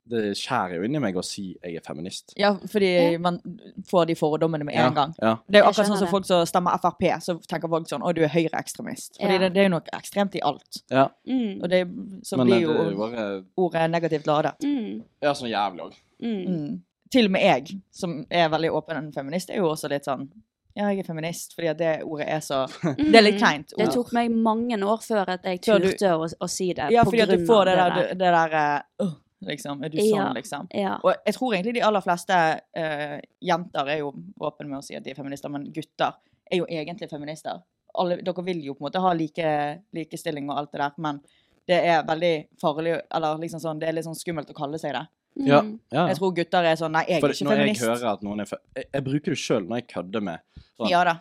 S1: Det skjærer jo inni meg å si jeg er feminist.
S3: ja, fordi
S2: Ja.
S3: man får de fordommene med
S1: Ja,
S3: en gang.
S1: Ja.
S3: Det er
S2: Jeg
S3: jo akkurat
S2: skjønner
S3: sånn som
S2: det.
S3: folk som stemmer Frp, så tenker folk sånn 'Å, du er høyreekstremist'. Fordi
S2: Ja.
S3: det, det er jo noe ekstremt i alt.
S1: ja.
S2: Mm,
S3: Eh, Og det, så
S1: Men
S3: blir
S1: eh, det er jo
S3: jo
S1: bare
S3: ordet negativt ladet.
S2: mm,
S1: Ja, sånn jævlig òg.
S2: mm.
S3: Mm. Til og med jeg, som er veldig åpen feminist, er jo også litt sånn Ja, jeg er feminist, fordi at det ordet er så Det er litt kleint.
S2: Det
S3: ord.
S2: tok meg mange år før at jeg
S3: Før du-
S2: turte å, å si det.
S3: Ja,
S2: på
S3: fordi at du
S2: grunn
S3: får
S2: av
S3: det der, det der eh, «Åh», liksom. Er du sånn,
S2: Ja.
S3: liksom?
S2: Ja.
S3: Og jeg tror egentlig de aller fleste eh, jenter er jo åpne med å si at de er feminister, men gutter er jo egentlig feminister. Alle, dere vil jo på en måte ha like, likestilling og alt det der, men det er veldig farlig, eller liksom sånn, det er litt sånn skummelt å kalle seg det.
S2: Mm.
S1: Ja. ja.
S3: Jeg tror gutter er sånn, nei, jeg
S1: For
S3: er ikke
S1: når jeg
S3: feminist.
S1: hører at noen er fe jeg, jeg bruker det sjøl når jeg kødder med sånn,
S3: Ja da.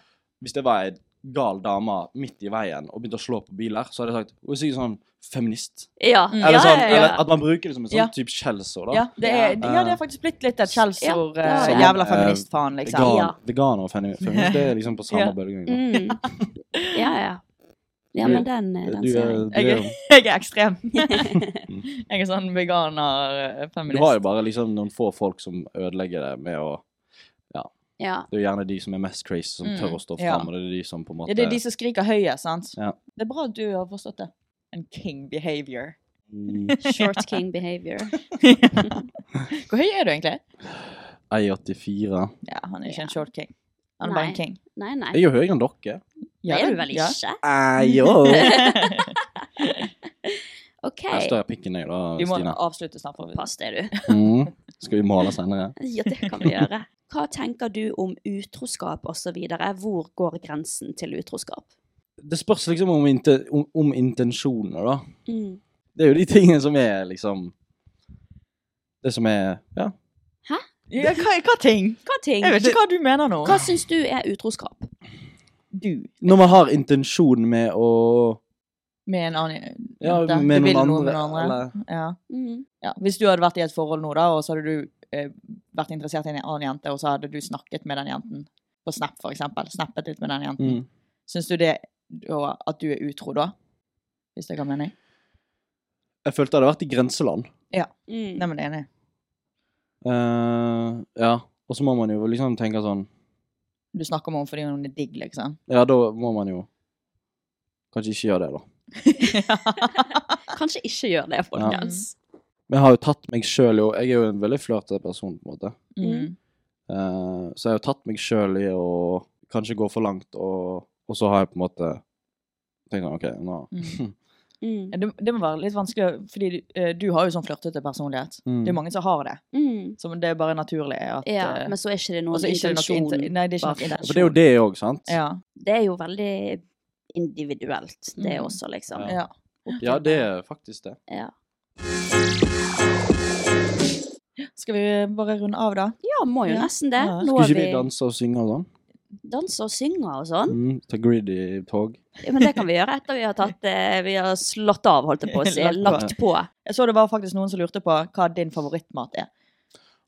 S1: Hvis det var ei gal dame midt i veien og begynte å slå på biler, så hadde jeg sagt Hun er sikkert sånn feminist.
S2: Ja.
S3: Mm.
S2: ja,
S1: Eller sånn,
S2: ja, ja.
S1: Eller at man bruker det som et sånn
S3: Ja.
S1: type skjellsord, da.
S3: Ja det, er, ja, det er faktisk blitt litt et skjellsord.
S2: Ja, det
S3: eh,
S2: er det.
S3: jævla feministfaen, liksom.
S1: Eh, Vegan,
S2: Ja.
S1: Veganer og femi- feminist, det er liksom på samme
S3: Ja.
S1: bølgelengde.
S2: Mm. ja, ja. Ja, men den, eh, den
S1: Du,
S2: ser jeg.
S1: er- du, er-
S3: Jeg er ekstrem. Jeg er sånn eh,
S1: du har
S3: veganer-feminist.
S1: jo bare liksom noen få folk som ødelegger det med å
S2: Ja.
S1: Det er jo gjerne de som er mest crazy, som
S3: Mm,
S1: tør å stå
S3: ja.
S1: fram, og det er de som på en måte
S3: Ja, det er de som skriker høyest, sant?
S1: Ja.
S3: Det er bra at du har forstått det. En king behavior.
S1: Mm,
S2: Short king behavior.
S3: Hvor høy er du egentlig?
S1: Jeg er 84.
S3: Ja, han er ikke en
S2: Ja.
S3: short king. Han er bare en
S2: Nei.
S3: king.
S2: Nei, nei.
S1: Jeg er jo høyere enn dere.
S2: det er du vel ikke?
S1: Ah,
S2: OK.
S1: Jeg er større pikk enn deg, da,
S3: Du må
S1: Stina.
S3: avslutte snart. For...
S2: Pass deg, du.
S1: Mm. Skal vi male senere?
S2: Ja, det kan vi gjøre. Hva tenker du om utroskap osv.? Hvor går grensen til utroskap?
S1: Det spørs liksom om, inte, om, om intensjoner, da.
S2: Mm.
S1: Det er jo de tingene som er liksom Det som er Ja.
S3: Ja, hva, hva ting?
S2: Hva ting?
S3: Jeg vet ikke hva du mener nå.
S2: Hva syns du er utroskap?
S3: du
S1: Når man har intensjon med å
S3: med en annen
S1: Ja,
S3: jente.
S1: med
S3: Du vil
S1: noen
S3: noe
S1: andre,
S3: med noen andre.
S1: eller
S3: Ja.
S2: Mm.
S3: Ja. Hvis du hadde vært i et forhold nå, da, og så hadde du eh, vært interessert i en annen jente, og så hadde du snakket med den jenten på Snap, for eksempel. Snappet litt med den jenten.
S1: mm.
S3: Syns du det da, at du er utro da? Hvis det ga mening?
S1: Jeg følte det hadde vært i grenseland.
S2: Mm.
S3: Nei, men enig.
S1: Eh, ja. Og så må man jo liksom tenke sånn
S3: Du snakker med henne fordi hun er digg, liksom.
S1: Ja, da må man jo Kanskje ikke gjøre det, da.
S2: Kanskje ikke gjør det, folkens.
S1: Men jeg har jo tatt meg sjøl i å Jeg er jo en veldig flørtete person, på en måte.
S3: Mm.
S1: Eh, så jeg har jo tatt meg sjøl i å kanskje går for langt, og, og så har jeg på en måte tenkt sånn OK, nå
S3: Mm.
S2: Mm.
S3: Det, det må være litt vanskelig, å- fordi eh, du har jo sånn flørtete personlighet.
S1: Mm.
S3: Det er mange som har det.
S2: Mm.
S3: Som det er bare naturlig at
S2: Ja,
S3: eh,
S2: men så er ikke det noen
S3: altså, ikke det er noe
S2: intensjon.
S3: inter- Nei, det er
S2: bak
S3: ikke noe
S2: det.
S1: For det er jo det òg, sant?
S3: Ja.
S2: Det er jo veldig individuelt, det
S3: Mm.
S2: også, liksom.
S3: ja.
S1: Ja, det er faktisk det.
S2: Ja.
S3: Skal vi bare runde av, da?
S2: Ja, må jo
S3: Ja.
S2: nesten det.
S3: Ja.
S2: Nå
S1: Skulle
S2: har
S1: ikke
S2: vi
S1: vi danse og synge og sånn?
S2: danser og synger og sånn.
S1: Mm, ta greedy tog.
S2: Ja, men det kan vi gjøre etter vi har tatt eh, Vi har slått av, holdt jeg på å si.
S3: Lagt
S2: Lagt på.
S3: Jeg så det var faktisk noen som lurte på hva din favorittmat er.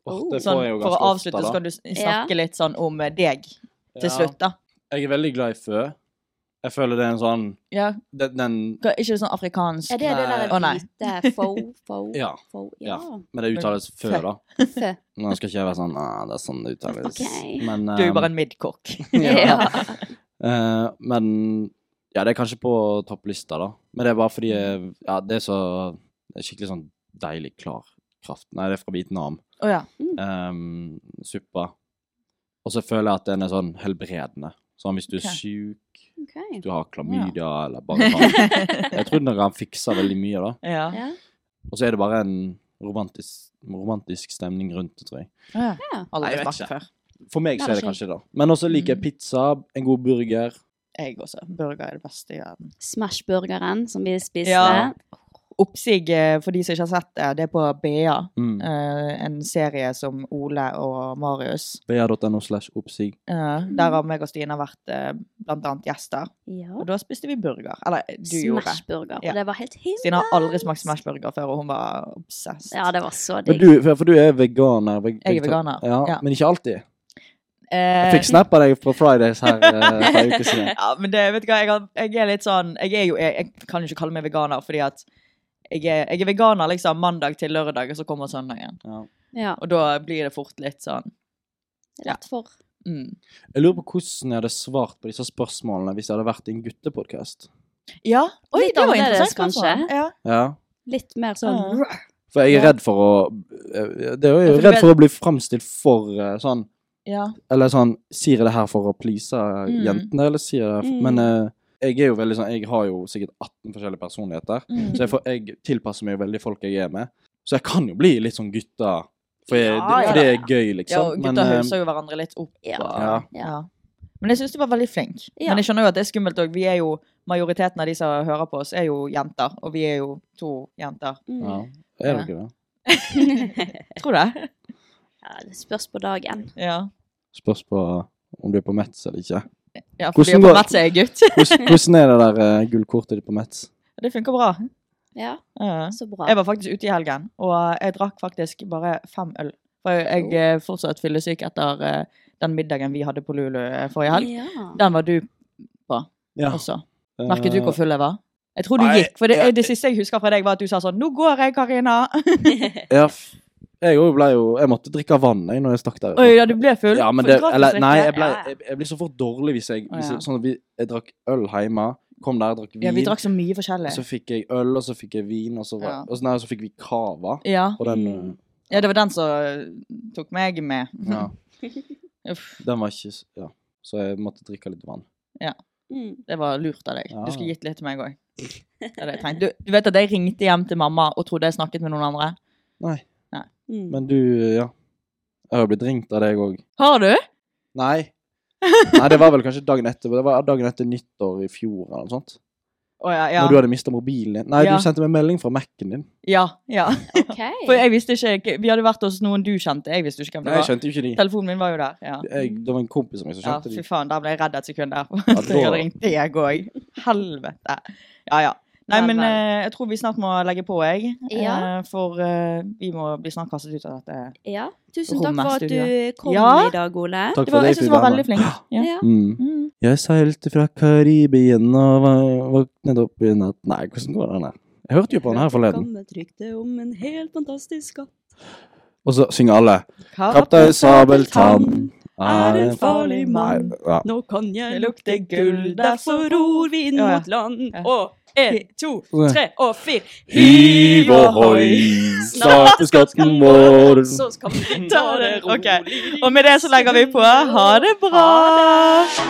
S1: Åh, det
S3: Sånn,
S1: får jeg jo
S3: for å
S1: ganske ofte,
S3: avslutte så
S1: da.
S3: kan du s- snakke litt sånn om eh, deg til
S1: Ja.
S3: slutt, da.
S1: Jeg er veldig glad i fø. Jeg føler det er en sånn
S3: Ja.
S1: Den, den
S3: Hva- Ikke sånn afrikansk eh,
S2: Er det det der
S3: Å, nei.
S2: hvite fo, fo,
S1: Ja.
S2: fo
S1: ja.
S2: Ja.
S1: Men det uttales fø, da.
S2: Fø.
S1: Nå skal ikke jeg være sånn ah, det er sånn det uttales.
S2: Ok.
S1: Men,
S3: Du er jo
S1: eh,
S3: bare en midcock.
S2: Ja.
S1: Eh, men ja, det er kanskje på topplista, da. Men det er bare fordi eh, ja, det er så det er skikkelig sånn deilig klar kraft. Nei, det er fra Vietnam.
S3: Å ja.
S1: Um, suppa. Og så føler jeg at den er sånn helbredende. Sånn hvis du er
S3: Ok.
S1: syk,
S2: Ok.
S1: hvis du har klamydia eller bare sånn. Jeg tror den kan fikse veldig mye, da.
S3: Ja.
S2: Ja.
S1: Og så er det bare en romantisk, romantisk stemning rundt det, tror jeg.
S3: Å ja.
S2: Ja.
S1: Nei,
S3: Aldri
S1: jeg vet
S3: smakt før.
S1: For meg så
S2: Nei,
S1: er det
S2: kanskje
S1: kanskje det. Men også liker jeg
S3: Mm.
S1: pizza, en god burger.
S3: Jeg også. Burger er det beste i verden.
S2: Smashburgeren som vi spiste.
S3: Ja. Oppsig, eh, for de som ikke har sett det, det er på BA.
S1: Mm.
S3: eh, en serie som Ole og Marius.
S1: BA.no slash oppsig.
S3: eh,
S2: Mm.
S3: der har meg og Stina vært eh, blant annet gjester.
S2: ja.
S3: Og da spiste vi burger. Eller du gjorde.
S2: Smashburger.
S3: Ja.
S2: Og det var helt himmel.
S3: Stina har aldri smakt smashburger før, og hun var obsessed.
S2: Ja, det var så
S1: Men
S2: digg.
S1: du, for- for du er veganer. veg-
S3: Jeg er
S1: vegeta-
S3: veganer,
S1: Ja,
S3: ja.
S1: Men ikke alltid. Jeg
S3: Eh,
S1: fikk snap av deg fra Fridays her eh, for en uke siden.
S3: Ja, men det, vet du hva, jeg, har- jeg er litt sånn Jeg er jo, jeg, jeg kan jo ikke kalle meg veganer, fordi at jeg er, jeg er veganer liksom mandag til lørdag, og så kommer søndagen.
S1: Ja.
S2: Ja,
S3: Og da blir det fort litt sånn
S2: rett for.
S3: mm.
S1: Jeg lurer på hvordan jeg hadde svart på disse spørsmålene hvis jeg hadde vært i en guttepodkast.
S3: Ja. Oi,
S2: Litt
S3: det var
S2: annerledes,
S3: interessant, kanskje.
S2: kanskje.
S3: Ja.
S1: Ja.
S2: Litt mer sånn
S3: Ja.
S1: For jeg er
S3: Ja.
S1: redd for å eh, Det er
S3: Ja,
S1: jo
S3: for du
S1: redd
S3: vet-
S1: for å bli framstilt for eh, sånn
S3: ja.
S1: Eller sånn Sier jeg det her for å please eh,
S3: Mm.
S1: jentene, eller sier jeg det for
S2: Mm.
S1: Men eh, jeg er jo veldig sånn Jeg har jo sikkert 18 forskjellige personligheter.
S3: Mm.
S1: Så jeg, får, jeg tilpasser meg veldig folk jeg er med. Så jeg kan jo bli litt sånn gutta, for, jeg,
S2: Ja,
S1: for det er gøy,
S3: ja
S1: liksom.
S3: og
S1: Men,
S3: gutter
S1: eh,
S3: huser jo hverandre litt opp.
S2: Ja.
S3: Og,
S1: Ja.
S3: ja. Men jeg syns du var veldig flink.
S2: Ja.
S3: Men jeg skjønner jo at det er skummelt òg. Vi er jo Majoriteten av de som hører på oss, er jo jenter. Og vi er jo to jenter.
S2: Mm.
S1: ja.
S2: Ja.
S1: Er det ikke det?
S3: Tror det.
S2: det spørs på dagen.
S3: Ja.
S1: Spørs på om du er på Metz eller ikke.
S3: ja fordi
S1: Hvordan
S3: jeg
S1: går-
S3: på Mats er jeg gutt.
S1: Hvordan, hvordan er det der eh, gullkortet ditt på Metz?
S3: Det funker bra.
S2: Ja,
S3: Ja.
S2: så bra.
S3: Jeg var faktisk ute i helgen, og eh, jeg drakk faktisk bare fem øl. For jeg
S1: Oh.
S3: eh, fortsatt fyllesyk etter eh, den middagen vi hadde på Lulu eh, forrige helg.
S2: Ja.
S3: Den var du
S1: Ja.
S3: også. Merket
S1: Eh,
S3: du hvor full jeg var? Jeg tror du
S1: Nei,
S3: gikk, for det,
S1: jeg-
S3: det siste jeg husker fra deg, var at du sa sånn 'Nå går jeg, Karina'.
S1: Ja, f- jeg òg ble jo Jeg måtte drikke vann jeg, når jeg stakk der.
S3: Oi, ja, du ble full.
S1: Ja, men
S3: For altså
S1: det,
S3: gratis
S1: eller,
S3: drikke.
S1: nei, jeg, ble,
S2: Ja, ja.
S1: jeg, jeg blir så fort dårlig hvis jeg hvis
S3: Å, ja.
S1: jeg, Sånn at vi, jeg drakk øl hjemme, kom der, drakk vin,
S3: Ja, vi drakk så mye forskjellig.
S1: og så fikk jeg øl, og så fikk jeg vin, og så, var,
S3: Ja.
S1: og så, nei, og så fikk vi cava.
S3: Ja.
S1: Og den
S2: Mm.
S3: ja, det var den som eh, tok meg med.
S1: Ja.
S3: Uff,
S1: Den var ikke s- Ja. Så jeg måtte drikke litt vann.
S2: Mm.
S3: det var lurt av deg.
S1: Ja.
S3: Du skulle gitt litt til meg òg. Du, du vet at jeg ringte hjem til mamma og trodde jeg snakket med noen andre?
S2: Mm.
S1: Men du, ja. Jeg har jo blitt ringt av deg òg.
S3: Har du?
S1: Nei. Nei, det var vel kanskje dagen etter. Det var dagen etter nyttår i fjor eller noe sånt.
S3: Å ja, ja.
S1: Når du hadde mista mobilen din. Nei,
S3: Ja.
S1: du sendte meg melding fra Mac-en din.
S3: Ja, ja.
S2: OK.
S3: For jeg visste ikke Vi hadde vært hos noen du kjente. Jeg visste ikke hvem det
S1: Nei, jeg
S3: var.
S1: skjønte jo ikke de.
S3: Telefonen min var jo der. Ja,
S1: Jeg, det var en kompis av meg som
S3: ja
S1: skjønte
S3: fy
S1: de.
S3: faen. Der ble jeg redd et sekund der.
S1: Ja,
S3: Så jeg
S1: da-
S3: hadde ringt deg òg. Helvete. Ja, ja. Nei,
S2: Vel,
S3: men
S2: vel.
S3: eh, jeg tror vi snart må legge på, jeg. Eh,
S2: Ja.
S3: for eh, vi må bli snart kastet ut av dette.
S2: Ja. Tusen takk for at
S3: Rommestudio.
S2: du kom
S3: Ja.
S2: i dag, Ole.
S1: Takk
S3: Det
S1: for
S3: var,
S1: det,
S3: jeg syns du var
S1: Fibama.
S3: veldig flink. Ja.
S2: Ja.
S1: Mm.
S3: Mm.
S1: Jeg seilte fra Karibien og va- våknet opp i natt Nei, hvordan går den der? Jeg hørte jo på den her forleden.
S2: Kom med et rykte om en helt fantastisk katt.
S1: Og så synger alle. Kaptein Sabeltann er en
S2: farlig
S1: Nei, ja.
S2: Nå kan jeg
S3: lukte gull, derfor
S2: ror vi inn
S3: Ja, ja.
S2: land.
S3: Ja.
S2: Og
S3: Én, to, tre og fire.
S1: Hiv ohoi, starte skatten vår.
S2: Så skal vi
S3: Ta det rolig. Og med det så legger vi på. Ha det bra!